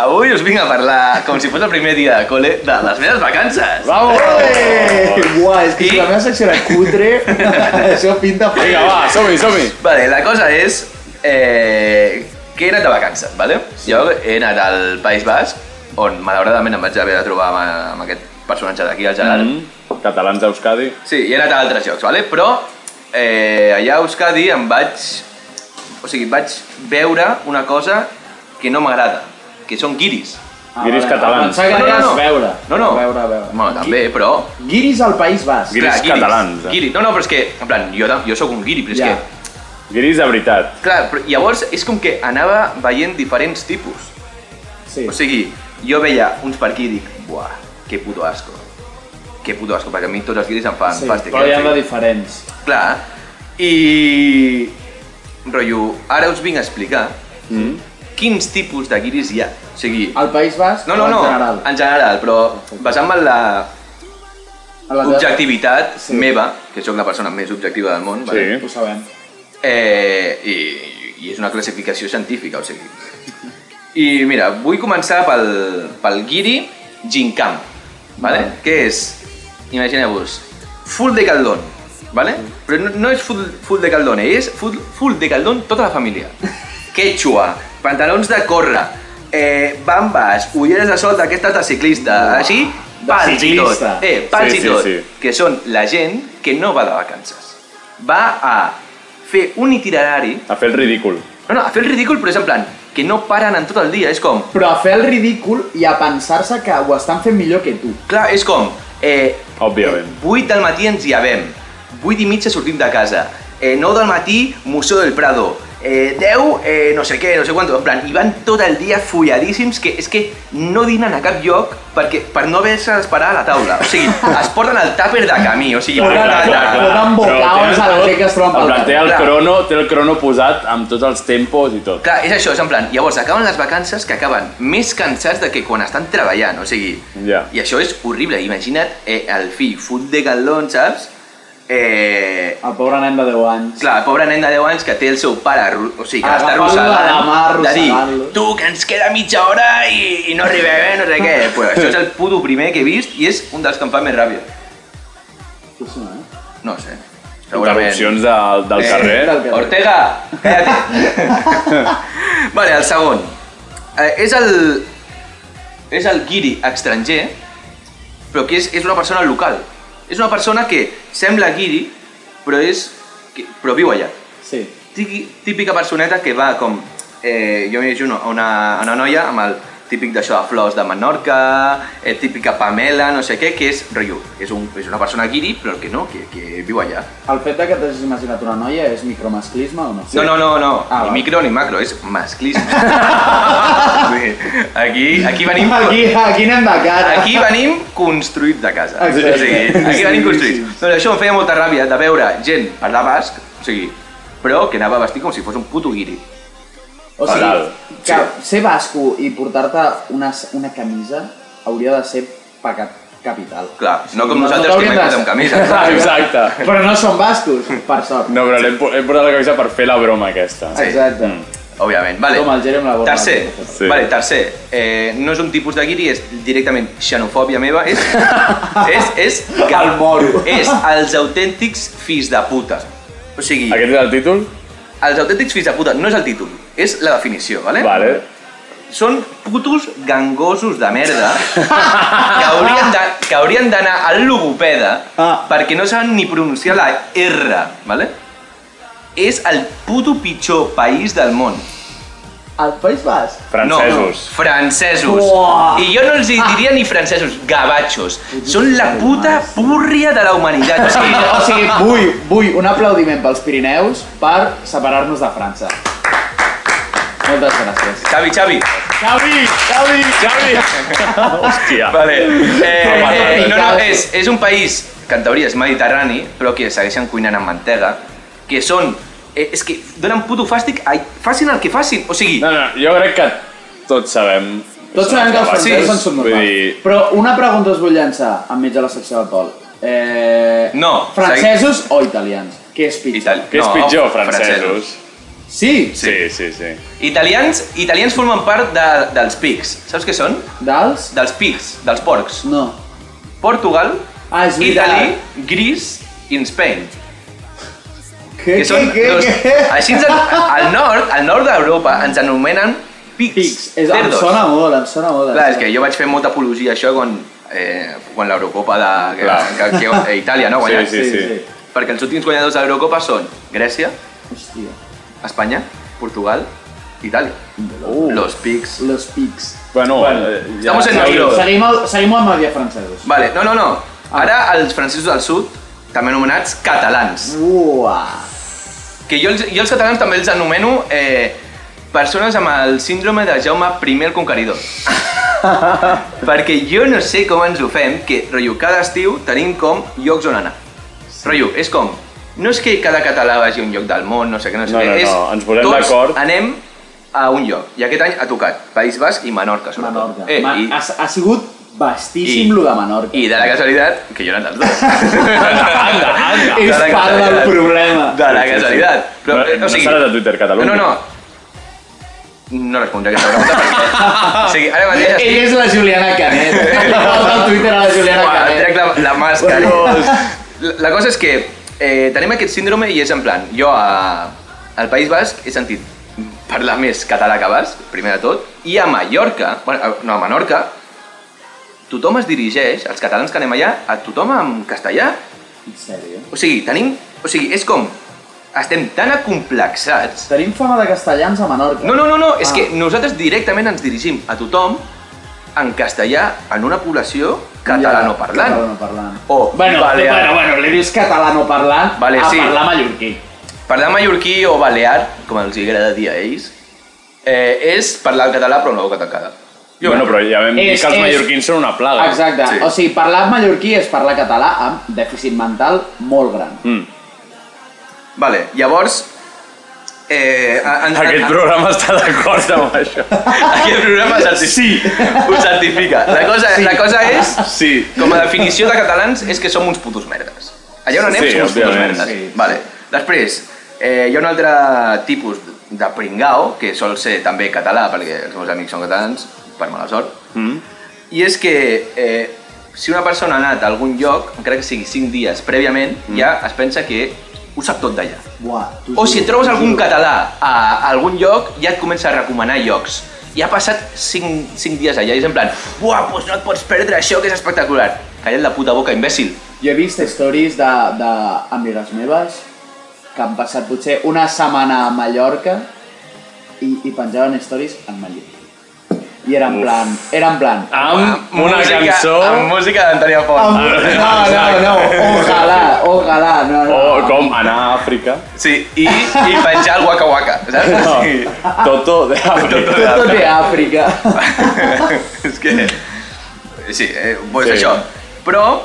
Speaker 7: avui us vinc a parlar, com si fos el primer dia de col·le, de les meves vacances.
Speaker 1: Vamos!
Speaker 2: Uah, és que si
Speaker 7: I-
Speaker 2: la meva secció era cutre, això pinta
Speaker 1: Vinga,
Speaker 2: feia.
Speaker 1: va, som-hi, som-hi!
Speaker 7: Vale, la cosa és eh, que he anat de vacances, vale? Jo he anat al País Basc, on malauradament em vaig haver de trobar amb, amb aquest personatge d'aquí, el Gerard. Mm
Speaker 1: Mm. Catalans d'Euskadi.
Speaker 7: Sí, i he anat a altres llocs, vale? però eh, allà a Euskadi em vaig... O sigui, vaig veure una cosa que no m'agrada, que són guiris.
Speaker 2: Ah,
Speaker 1: Guiris catalans.
Speaker 2: Pensava que anies a veure.
Speaker 7: No, no.
Speaker 2: Veure, veure.
Speaker 7: Bueno, també, però...
Speaker 2: Guiris al País Basc.
Speaker 1: Guiris catalans, eh?
Speaker 7: Guiri. No, no, però és que, en plan, jo, tam- jo sóc un guiri, però és
Speaker 2: Ja.
Speaker 7: que
Speaker 1: Guiris de veritat.
Speaker 7: Clar, però llavors és com que anava veient diferents tipus.
Speaker 2: Sí.
Speaker 7: O sigui, jo veia uns per aquí i dic, buah, que puto asco. Que puto asco, perquè a mi tots els guiris em fan
Speaker 2: sí,
Speaker 7: fàstic.
Speaker 2: però hi
Speaker 7: eh?
Speaker 2: ha
Speaker 7: O
Speaker 2: de
Speaker 7: sigui,
Speaker 2: diferents.
Speaker 7: Clar, i... Rotllo, ara us vinc a explicar mm. quins tipus de guiris hi ha. O sigui,
Speaker 2: Al País Basc
Speaker 7: no,
Speaker 2: o
Speaker 7: no, no,
Speaker 2: Ah, en general?
Speaker 7: en general, però basant-me en la
Speaker 2: A la teva-
Speaker 7: objectivitat
Speaker 2: Sí.
Speaker 7: meva, que sóc la persona més objectiva del món, vale?
Speaker 2: Ho sabem.
Speaker 7: eh, i, i és una classificació científica, o sigui. I mira, vull començar pel, pel guiri gincam, vale?
Speaker 2: Vale.
Speaker 7: que és, imagineu-vos, full de caldón, vale?
Speaker 2: Mm.
Speaker 7: però no, no és full, full de caldón, és full, full de caldón tota la família. Quechua, pantalons de córrer, eh, bambes, ulleres de sol d'aquestes de ciclista, així,
Speaker 2: de
Speaker 7: pals i tot.
Speaker 2: ciclista.
Speaker 7: Eh, pals
Speaker 1: Sí,
Speaker 7: i
Speaker 1: sí,
Speaker 7: tot.
Speaker 1: sí.
Speaker 7: Que són la gent que no va de vacances. Va a fer un itinerari...
Speaker 1: A fer el ridícul.
Speaker 7: No, no, a fer el ridícul, però és en plan, que no paren en tot el dia. És com,
Speaker 2: Però a fer el ridícul i a pensar-se que ho estan fent millor que tu.
Speaker 7: clar, és com... Eh,
Speaker 1: Òbviament.
Speaker 7: 8 del matí ens hi havem. 8 i mitja sortim de casa. Eh, 9 del matí, Museu del Prado. Eh, 10, eh, no sé què, no sé quant. En plan, i van tot el dia folladíssims que és que no dinen a cap lloc perquè, per no haver-se d'esperar a la taula. O sigui, es porten el tàper de camí. O sigui,
Speaker 2: Clar, clar, clar, clar. Donen bocaos a la gent que es troben pel
Speaker 1: pel té el
Speaker 7: carrer.
Speaker 1: crono, té el crono posat amb tots els tempos i tot.
Speaker 7: Clar, és això, és en plan, llavors acaben les vacances que acaben més cansats de que quan estan treballant, o sigui,
Speaker 1: Ja.
Speaker 7: i això és horrible, imagina't eh, el fill fut de galón, saps? Eh,
Speaker 2: El pobre nen de 10 anys.
Speaker 7: clar, el pobre nen de 10 anys que té el seu pare, arru- o sigui, que l'està
Speaker 2: Agafant-lo de Ah, la mà,
Speaker 7: arrossegant, de dir,
Speaker 2: arrossegant-lo.
Speaker 7: tu, que ens queda mitja hora i, i no arribem, eh, no sé què. Pues això és el puto primer que he vist i és un dels que em fa més ràbia.
Speaker 2: Sí, eh?
Speaker 7: No sé, segurament.
Speaker 1: Interrupcions de, del
Speaker 7: Eh,
Speaker 1: carrer.
Speaker 2: del-
Speaker 7: Ortega, calla't. vale, el segon. Eh, és el... És el guiri estranger, però que és, és una persona local. És una persona que sembla guiri, però, és, que, però viu allà.
Speaker 2: Sí.
Speaker 7: Tiqui- Típica personeta que va com... Eh, jo m'imagino a una, a una noia amb el típic d'això de flors de Menorca, eh, típica Pamela, no sé què, que és, rotllo, és, un, és una persona guiri, però que no, que, que viu allà.
Speaker 2: El fet de que t'hagis imaginat una noia és micromasclisme o no?
Speaker 7: No, no, no, no.
Speaker 2: Ah,
Speaker 7: ni
Speaker 2: vale.
Speaker 7: micro ni macro, és masclisme. Sí. aquí, aquí venim...
Speaker 2: Aquí, aquí anem de cara.
Speaker 7: Aquí venim construït de casa.
Speaker 2: Exacte.
Speaker 7: O sigui, aquí venim
Speaker 2: Sí,
Speaker 7: construït.
Speaker 2: sí.
Speaker 7: Doncs això em feia molta ràbia de veure gent parlar basc, o sigui, però que anava vestit com si fos un puto guiri.
Speaker 2: O sigui,
Speaker 1: Halal.
Speaker 2: que ser basco i portar-te una, una camisa hauria de ser pecat capital.
Speaker 7: Clar, no com nosaltres que
Speaker 2: hauríem
Speaker 7: hem
Speaker 2: de-
Speaker 7: quedat amb camisa.
Speaker 1: Exacte.
Speaker 2: Però no són bascos,
Speaker 7: Hm.
Speaker 2: per sort.
Speaker 1: No, però l'hem po- hem portat la camisa per fer la broma aquesta.
Speaker 7: Sí.
Speaker 2: Exacte.
Speaker 7: Òbviament, vale.
Speaker 2: Com el Jerry amb la borra.
Speaker 7: Tercer,
Speaker 1: Sí.
Speaker 7: vale, tercer. Eh, no és un tipus de guiri, és directament xenofòbia meva. És, és, és, que,
Speaker 2: El moro.
Speaker 7: És els autèntics fills de puta. O sigui,
Speaker 1: Aquest és el títol?
Speaker 7: els autèntics fills de puta no és el títol, és la definició, vale?
Speaker 1: Vale.
Speaker 7: Són putos gangosos de merda que haurien de- que haurien d'anar al logopeda
Speaker 2: Ah.
Speaker 7: perquè no saben ni pronunciar la R, vale? És el puto pitjor país del món.
Speaker 2: Al País Basc?
Speaker 1: Francesos.
Speaker 7: No, francesos.
Speaker 2: Uah.
Speaker 7: I jo no els hi diria ni francesos, gabachos. Són la puta púrria de la humanitat. O sigui,
Speaker 2: O sigui, vull, vull un aplaudiment pels Pirineus per separar-nos de França. Moltes gràcies.
Speaker 7: Xavi, Xavi.
Speaker 1: Xavi, Xavi, Xavi. Hòstia.
Speaker 7: Vale. Eh, eh, no, no,
Speaker 2: Xavi.
Speaker 7: és, és un país que en teoria és mediterrani, però que segueixen cuinant amb mantega, que són... Eh, és que donen puto fàstic, ai, facin el que facin, o sigui...
Speaker 1: No, no, jo crec que tots sabem...
Speaker 2: Tots sabem que els francesos
Speaker 7: Sí,
Speaker 2: en són
Speaker 1: vull
Speaker 2: normals.
Speaker 1: dir-
Speaker 2: Però una pregunta us vull llançar enmig de la secció del Pol. Eh,
Speaker 7: No,
Speaker 2: Francesos o italians? Què és pitjor?
Speaker 7: Itali-
Speaker 1: Què és
Speaker 7: no,
Speaker 1: pitjor, francesos?
Speaker 2: Sí,
Speaker 1: Sí, sí, sí.
Speaker 7: Italians, italians formen part de, dels pigs. Saps què són?
Speaker 2: dels?
Speaker 7: Dels pigs, dels porcs.
Speaker 2: No.
Speaker 7: Portugal,
Speaker 2: Ah, és veritat.
Speaker 7: Italy, Greece i Spain.
Speaker 2: Què,
Speaker 7: Que són dos... Així ens, al nord, al nord d'Europa ens anomenen pigs.
Speaker 2: Pics. És, em
Speaker 7: cerdos.
Speaker 2: sona molt, em sona molt. em
Speaker 7: Clar, és
Speaker 2: sona.
Speaker 7: que jo vaig fer molta apologia a això quan, eh, quan l'Eurocopa de que,
Speaker 1: Clar.
Speaker 7: que, que, eh, Itàlia no ha guanyat.
Speaker 1: Sí, sí.
Speaker 7: Perquè els últims guanyadors de l'Eurocopa són Grècia,
Speaker 2: Hòstia.
Speaker 7: Espanya, Portugal, Itàlia.
Speaker 1: Uh.
Speaker 7: Los pigs.
Speaker 2: Los pics.
Speaker 1: Bueno, bueno eh, ja,
Speaker 7: estamos en
Speaker 1: ja ho
Speaker 7: Euro.
Speaker 1: dic.
Speaker 2: Seguim, el, seguim amb media francesos.
Speaker 7: Vale, no, no, no.
Speaker 2: Ah.
Speaker 7: Ara els francesos del sud, també anomenats catalans.
Speaker 2: Uah.
Speaker 7: Que jo, els- jo els catalans també els anomeno eh, persones amb el síndrome de Jaume I el Conqueridor. Perquè jo no sé com ens ho fem, que, rotllo, cada estiu tenim com llocs on anar. Rotllo, és com, no és que cada català vagi a un lloc del món, no sé què, no sé
Speaker 1: No,
Speaker 7: què,
Speaker 1: no,
Speaker 7: és
Speaker 1: no, ens posem
Speaker 7: tots
Speaker 1: d'acord.
Speaker 7: anem a un lloc. I aquest any ha tocat País Basc i Menorca, sobretot.
Speaker 2: Menorca.
Speaker 7: Eh,
Speaker 2: Ma- ah,
Speaker 7: i,
Speaker 2: ha, ha sigut vastíssim lo de Menorca.
Speaker 7: I de la casualitat, que jo eren dels dos. anda,
Speaker 2: anda. És part del problema.
Speaker 7: De la casualitat. Però,
Speaker 1: No,
Speaker 7: eh,
Speaker 1: no
Speaker 7: o sigui,
Speaker 1: serà de Twitter Catalunya.
Speaker 7: No, no, no. No respondré aquesta pregunta. perquè- o sigui, ara mateix estic...
Speaker 2: Ell és la Juliana Canet. Li falta el Twitter a la eh. Juliana
Speaker 7: Uah,
Speaker 2: Canet.
Speaker 7: Trec la, la màscara. La, la cosa és que eh, tenim aquest síndrome i és en plan, jo a, al País Basc he sentit parlar més català que basc, primer de tot, i a Mallorca, bueno, a- no, a Menorca, tothom es dirigeix, els catalans que anem allà, a tothom en castellà.
Speaker 2: En sèrio?
Speaker 7: O sigui, tenim... O sigui, és com... Estem tan acomplexats
Speaker 2: Tenim fama de castellans a Menorca.
Speaker 7: no, no, no, no, és
Speaker 2: Ah.
Speaker 7: que nosaltres directament ens dirigim a tothom en castellà en una població catalanoparlant.
Speaker 2: Catalanoparlant.
Speaker 7: O
Speaker 2: Bueno,
Speaker 7: balear.
Speaker 2: bueno, bueno, li dius catalanoparlant
Speaker 7: Vale,
Speaker 2: a
Speaker 7: sí.
Speaker 2: parlar mallorquí.
Speaker 7: Parlar mallorquí o balear, com els hi agrada dir a ells, eh, és parlar el català però amb la boca tancada.
Speaker 1: Bueno, però ja vam dir
Speaker 2: És-
Speaker 1: que els
Speaker 2: és-
Speaker 1: mallorquins són una plaga.
Speaker 2: Exacte.
Speaker 7: Sí.
Speaker 2: O sigui, parlar mallorquí és parlar català amb dèficit mental molt gran.
Speaker 1: Mm.
Speaker 7: Vale, llavors... Eh, a- en-
Speaker 1: Aquest
Speaker 7: en-
Speaker 1: programa està d'acord amb això.
Speaker 7: Aquest programa certi- ho certifica. La cosa, la cosa és,
Speaker 1: Sí.
Speaker 7: com a definició de catalans, és que som uns putos merdes. Allà on anem
Speaker 1: Sí,
Speaker 7: som uns putos
Speaker 1: òbviament.
Speaker 7: merdes.
Speaker 1: Sí, sí.
Speaker 7: Vale. Després, eh, hi ha un altre tipus de pringao, que sol ser també català, perquè els meus amics són catalans, per mala sort,
Speaker 1: Mm.
Speaker 7: i és que eh, si una persona ha anat a algun lloc, encara que sigui 5 dies prèviament,
Speaker 1: Mm.
Speaker 7: ja es pensa que ho sap tot d'allà.
Speaker 2: Buah, t'ho
Speaker 7: O
Speaker 2: juro,
Speaker 7: si et trobes
Speaker 2: t'ho
Speaker 7: algun
Speaker 2: juro.
Speaker 7: català a algun lloc, ja et comença a recomanar llocs. I ha passat 5, 5 dies allà i és en plan Uah, doncs no et pots perdre això, que és espectacular. Calla't la puta boca, imbècil.
Speaker 2: Jo he vist stories de, de amigues meves que han passat potser una setmana a Mallorca i, i penjaven stories en mallorquí. I era en plan, era en plan...
Speaker 1: Amb una
Speaker 7: música,
Speaker 1: cançó...
Speaker 7: Amb música d'Antònia Font.
Speaker 2: "Am- no, no, no, "Oh, ojalà, ojalà, no, no.
Speaker 1: O Oh, com anar a Àfrica.
Speaker 7: Sí, i, i penjar el Waka Waka, saps?
Speaker 1: No.
Speaker 7: Sí.
Speaker 1: Toto de Àfrica.
Speaker 2: Tot, tot de Àfrica.
Speaker 7: és que... Sí, eh, doncs
Speaker 1: Sí.
Speaker 7: això. Però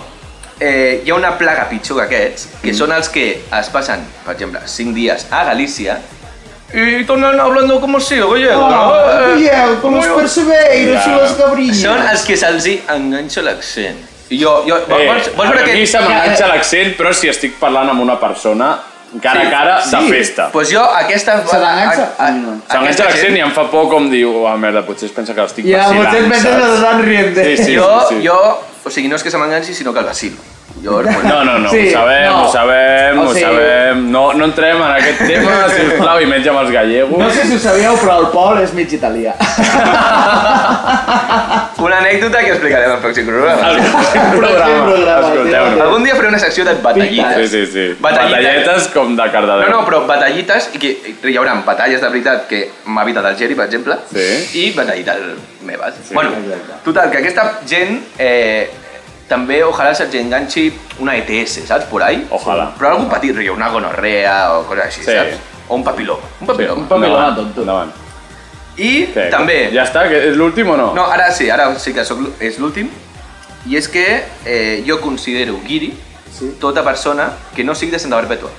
Speaker 7: eh, hi ha una plaga pitjor que aquests, que són els que es passen, per exemple, 5 dies a Galícia i tornen hablando como si, oye, Eh,
Speaker 2: Oh, Miguel, com os percebeiros
Speaker 1: Ja.
Speaker 2: i les cabrinhas.
Speaker 7: Són els que se'ls hi enganxa l'accent. I Jo, jo,
Speaker 1: Eh,
Speaker 7: vols, vols veure
Speaker 1: a mi
Speaker 7: que... Eh,
Speaker 1: se m'enganxa l'accent, però si estic parlant amb una persona cara
Speaker 7: Sí,
Speaker 1: a cara de
Speaker 2: sí.
Speaker 1: festa.
Speaker 7: Pues jo aquesta...
Speaker 2: Se t'enganxa?
Speaker 1: Ah,
Speaker 7: a- a-
Speaker 2: A mi no.
Speaker 7: aquesta
Speaker 1: S'enganxa l'accent
Speaker 7: gent-
Speaker 1: i em fa por com diu, ah, merda, potser es pensa que l'estic
Speaker 2: Ja,
Speaker 1: vacilant,
Speaker 2: potser et penses que
Speaker 1: saps?
Speaker 2: t'estan rient d'ell.
Speaker 1: Sí, sí,
Speaker 7: jo,
Speaker 1: sí, sí.
Speaker 7: jo, o sigui, no és que se m'enganxi, sinó que el vacilo. Jo,
Speaker 1: No, no, no,
Speaker 2: Sí,
Speaker 1: ho sabem,
Speaker 2: no.
Speaker 1: ho sabem,
Speaker 2: O
Speaker 1: ho
Speaker 2: sigui-
Speaker 1: sabem. No, no entrem en aquest tema, sisplau, i menys amb els gallegos.
Speaker 2: No sé si ho sabíeu, però el Pol és mig italià.
Speaker 7: Una anècdota que explicarem al pròxim programa.
Speaker 1: El pròxim
Speaker 2: pròxim
Speaker 1: programa,
Speaker 2: programa,
Speaker 1: escolteu-nos.
Speaker 7: Algun dia faré una secció de
Speaker 1: Sí,
Speaker 7: batallites.
Speaker 1: sí, sí.
Speaker 7: Batallites.
Speaker 1: Batalletes com de Cardedeu.
Speaker 7: No, no, però batallites, i que hi haurà batalles de veritat que m'ha evitat el Geri, per exemple,
Speaker 1: Sí.
Speaker 7: i batallites meves. Sí, bueno,
Speaker 2: exacte.
Speaker 7: total, que aquesta gent eh, també ojalà se'ls enganxi una ETS, saps, por ahí?
Speaker 1: Ojalà.
Speaker 7: Però algun petit riu, una gonorrea o coses així,
Speaker 1: Sí.
Speaker 7: saps? O un papiloma. Un papiloma.
Speaker 2: un papiloma
Speaker 1: Endavant,
Speaker 2: tonto.
Speaker 1: Endavant.
Speaker 7: I
Speaker 1: Què?
Speaker 7: també...
Speaker 1: Ja està? Que és l'últim o no?
Speaker 7: No, ara sí, ara sí que soc, l'ú- és l'últim. I és que eh, jo considero guiri
Speaker 2: Sí.
Speaker 7: tota persona que no sigui de Santa Perpètua.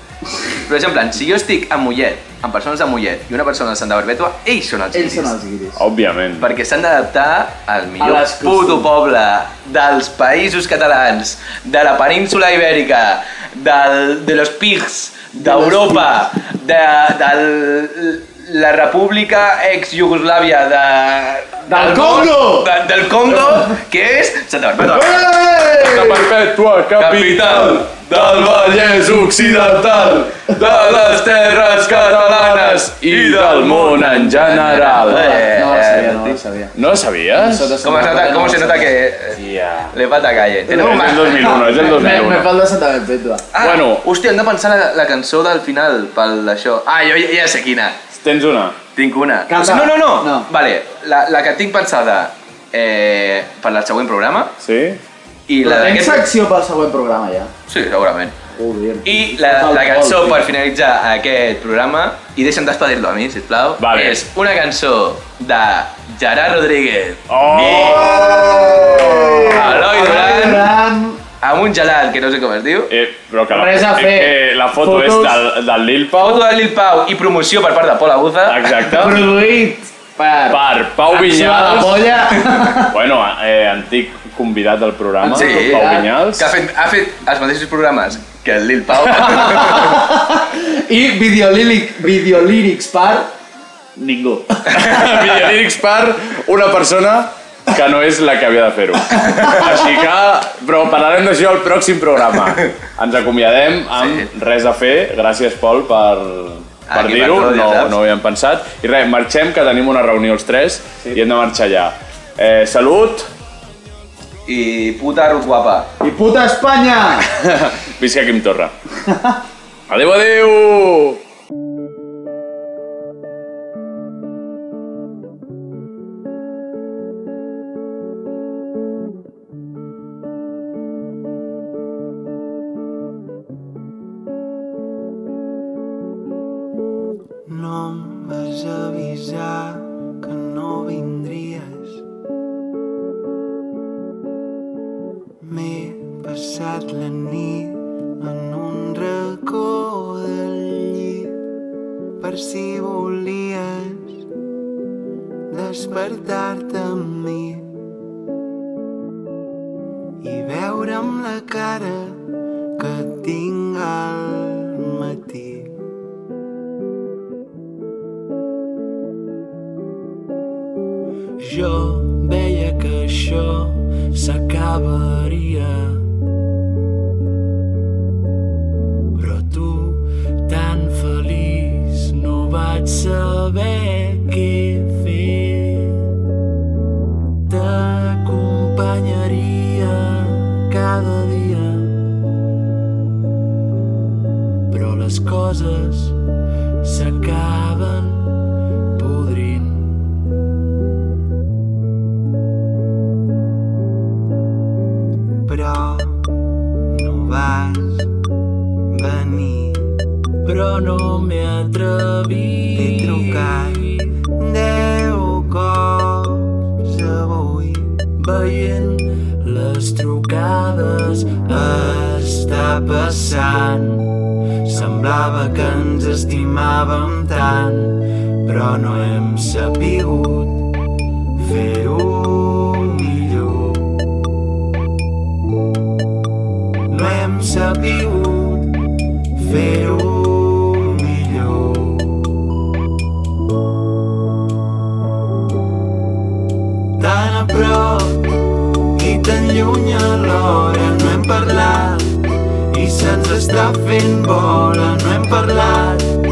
Speaker 7: Per exemple, si jo estic a Mollet, amb persones de Mollet i una persona de Santa Perpètua, ells són els
Speaker 2: Ells
Speaker 7: guiris.
Speaker 2: són els guiris.
Speaker 1: Òbviament.
Speaker 7: Perquè s'han d'adaptar al
Speaker 2: A
Speaker 7: millor
Speaker 2: les costums.
Speaker 7: puto poble dels països catalans, de la península ibèrica, del, de los pigs, d'Europa, de, de la república ex-Iugoslàvia de...
Speaker 2: Del Congo!
Speaker 7: De, del Congo, que és... Santa Barbara.
Speaker 1: La perpètua capital del Vallès Occidental, de les terres catalanes i del món en general.
Speaker 7: Eh,
Speaker 2: No ho sabia, no ho sabia.
Speaker 1: No ho sabies?
Speaker 2: Sota-
Speaker 7: Com, es nota, com se nota que eh,
Speaker 1: Yeah.
Speaker 7: le falta calle.
Speaker 1: És
Speaker 7: Tenemos
Speaker 1: el 2001, és el
Speaker 2: Me, me
Speaker 1: 2001.
Speaker 2: falta Santa Perpètua.
Speaker 7: Ah,
Speaker 1: Bueno.
Speaker 7: hòstia, hem de pensar la, la cançó del final pel d'això. Ah, jo ja, ja sé quina.
Speaker 1: Tens una?
Speaker 7: Tinc una.
Speaker 2: Canta.
Speaker 7: No, no, no.
Speaker 2: No.
Speaker 7: Vale, la, la que tinc pensada eh, per al següent programa
Speaker 1: Sí?
Speaker 7: i la
Speaker 2: Tens
Speaker 7: d'aquest...
Speaker 2: secció pel següent programa, ja.
Speaker 7: Sí, segurament.
Speaker 2: Joder.
Speaker 7: I la, la cançó per finalitzar aquest programa, i deixa'm despedir-lo a mi, sisplau,
Speaker 1: Vale.
Speaker 7: és una cançó de Gerard Rodríguez,
Speaker 1: Oh!
Speaker 7: Eloi Duran
Speaker 2: Gran
Speaker 7: amb un gelat que no sé com es diu.
Speaker 1: Eh, però que la,
Speaker 2: Res a
Speaker 1: eh,
Speaker 2: fer.
Speaker 1: que la foto
Speaker 2: Fotos.
Speaker 1: és del, del Lil Pau.
Speaker 7: Foto de Lil Pau i promoció per part de Pol Aguza.
Speaker 1: Exacte.
Speaker 2: Produït per...
Speaker 1: Per Pau
Speaker 2: Sua la
Speaker 1: Vinyals.
Speaker 2: polla.
Speaker 1: Bueno, eh, antic convidat del programa,
Speaker 7: Sí.
Speaker 1: Pau Vinyals.
Speaker 7: Que ha fet, ha fet els mateixos programes que el Lil Pau.
Speaker 2: I videolíric, videolírics per... Ningú.
Speaker 1: Videolírics per una persona que no és la que havia de fer-ho. Així que, però parlarem d'això al pròxim programa. Ens acomiadem amb
Speaker 7: Sí.
Speaker 1: res a fer. Gràcies, Pol, per, per
Speaker 7: Aquí,
Speaker 1: dir-ho.
Speaker 7: per tot, ja
Speaker 1: No,
Speaker 7: saps.
Speaker 1: no ho havíem pensat. I res, marxem, que tenim una reunió els tres sí. i hem de marxar allà. Eh, salut,
Speaker 7: I puta Ruth guapa.
Speaker 2: I puta Espanya!
Speaker 1: visca Quim Torra. Adéu, adéu!
Speaker 9: No em vas avisar que no vindries. M'he passat la nit en un racó del llit per si volies despertar-te amb mi i veure'm la cara que tinc al matí. Jo veia que això s'acabaria Però tu, tan feliç, no vaig saber què fer T'acompanyaria cada dia Però les coses s'acaben podrint però no vas venir. Però no m'he atrevit. T'he trucat deu cops avui. Veient les trucades està passant. Semblava que ens estimàvem tant, però no hem sapigut fer-ho millor no hem sabut fer-ho millor. Tan a prop i tan lluny alhora no hem parlat i se'ns està fent bola, no hem parlat i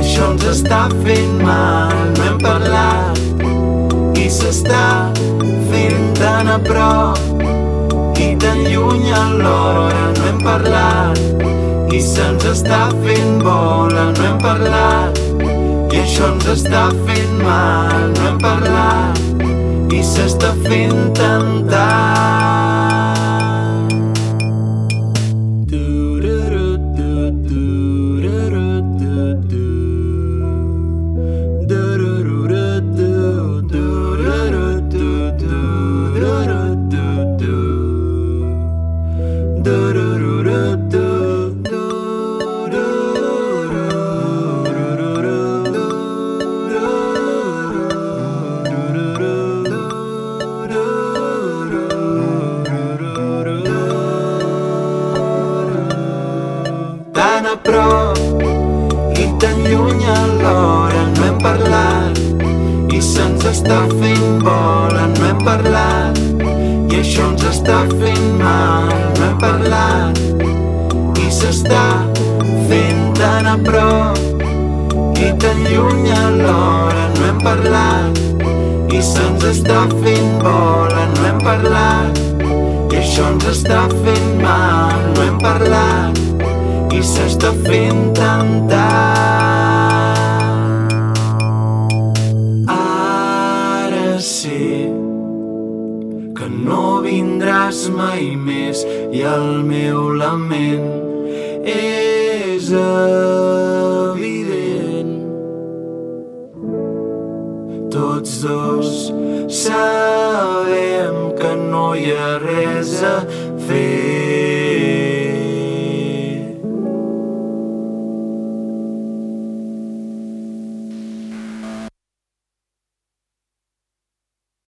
Speaker 9: això ens està fent mal, no hem parlat i s'està fent tan a prop i tan lluny alhora no hem parlat i se'ns està fent bola, no hem parlat i això ens està fent mal, no hem parlat i s'està fent tan tard Du-ru-ru, du, du-ru-ru, du, du. Du-ru-ru-ru, du, du-ru-ru, du, du-ru-ru, du, du. Tan a prop i tan lluny alhora no hem parlat i se'ns està fent bola, no hem parlat i això ens està fent mal, no hem parlat i s'està fent tan a prop i tan lluny alhora no hem parlat i se'ns està fent bola, no hem parlat i això ens està fent mal, no hem parlat i s'està fent tan tard. Ara sé que no vindràs mai més i el meu lament és evident. Tots dos sabem que no hi ha res a fer.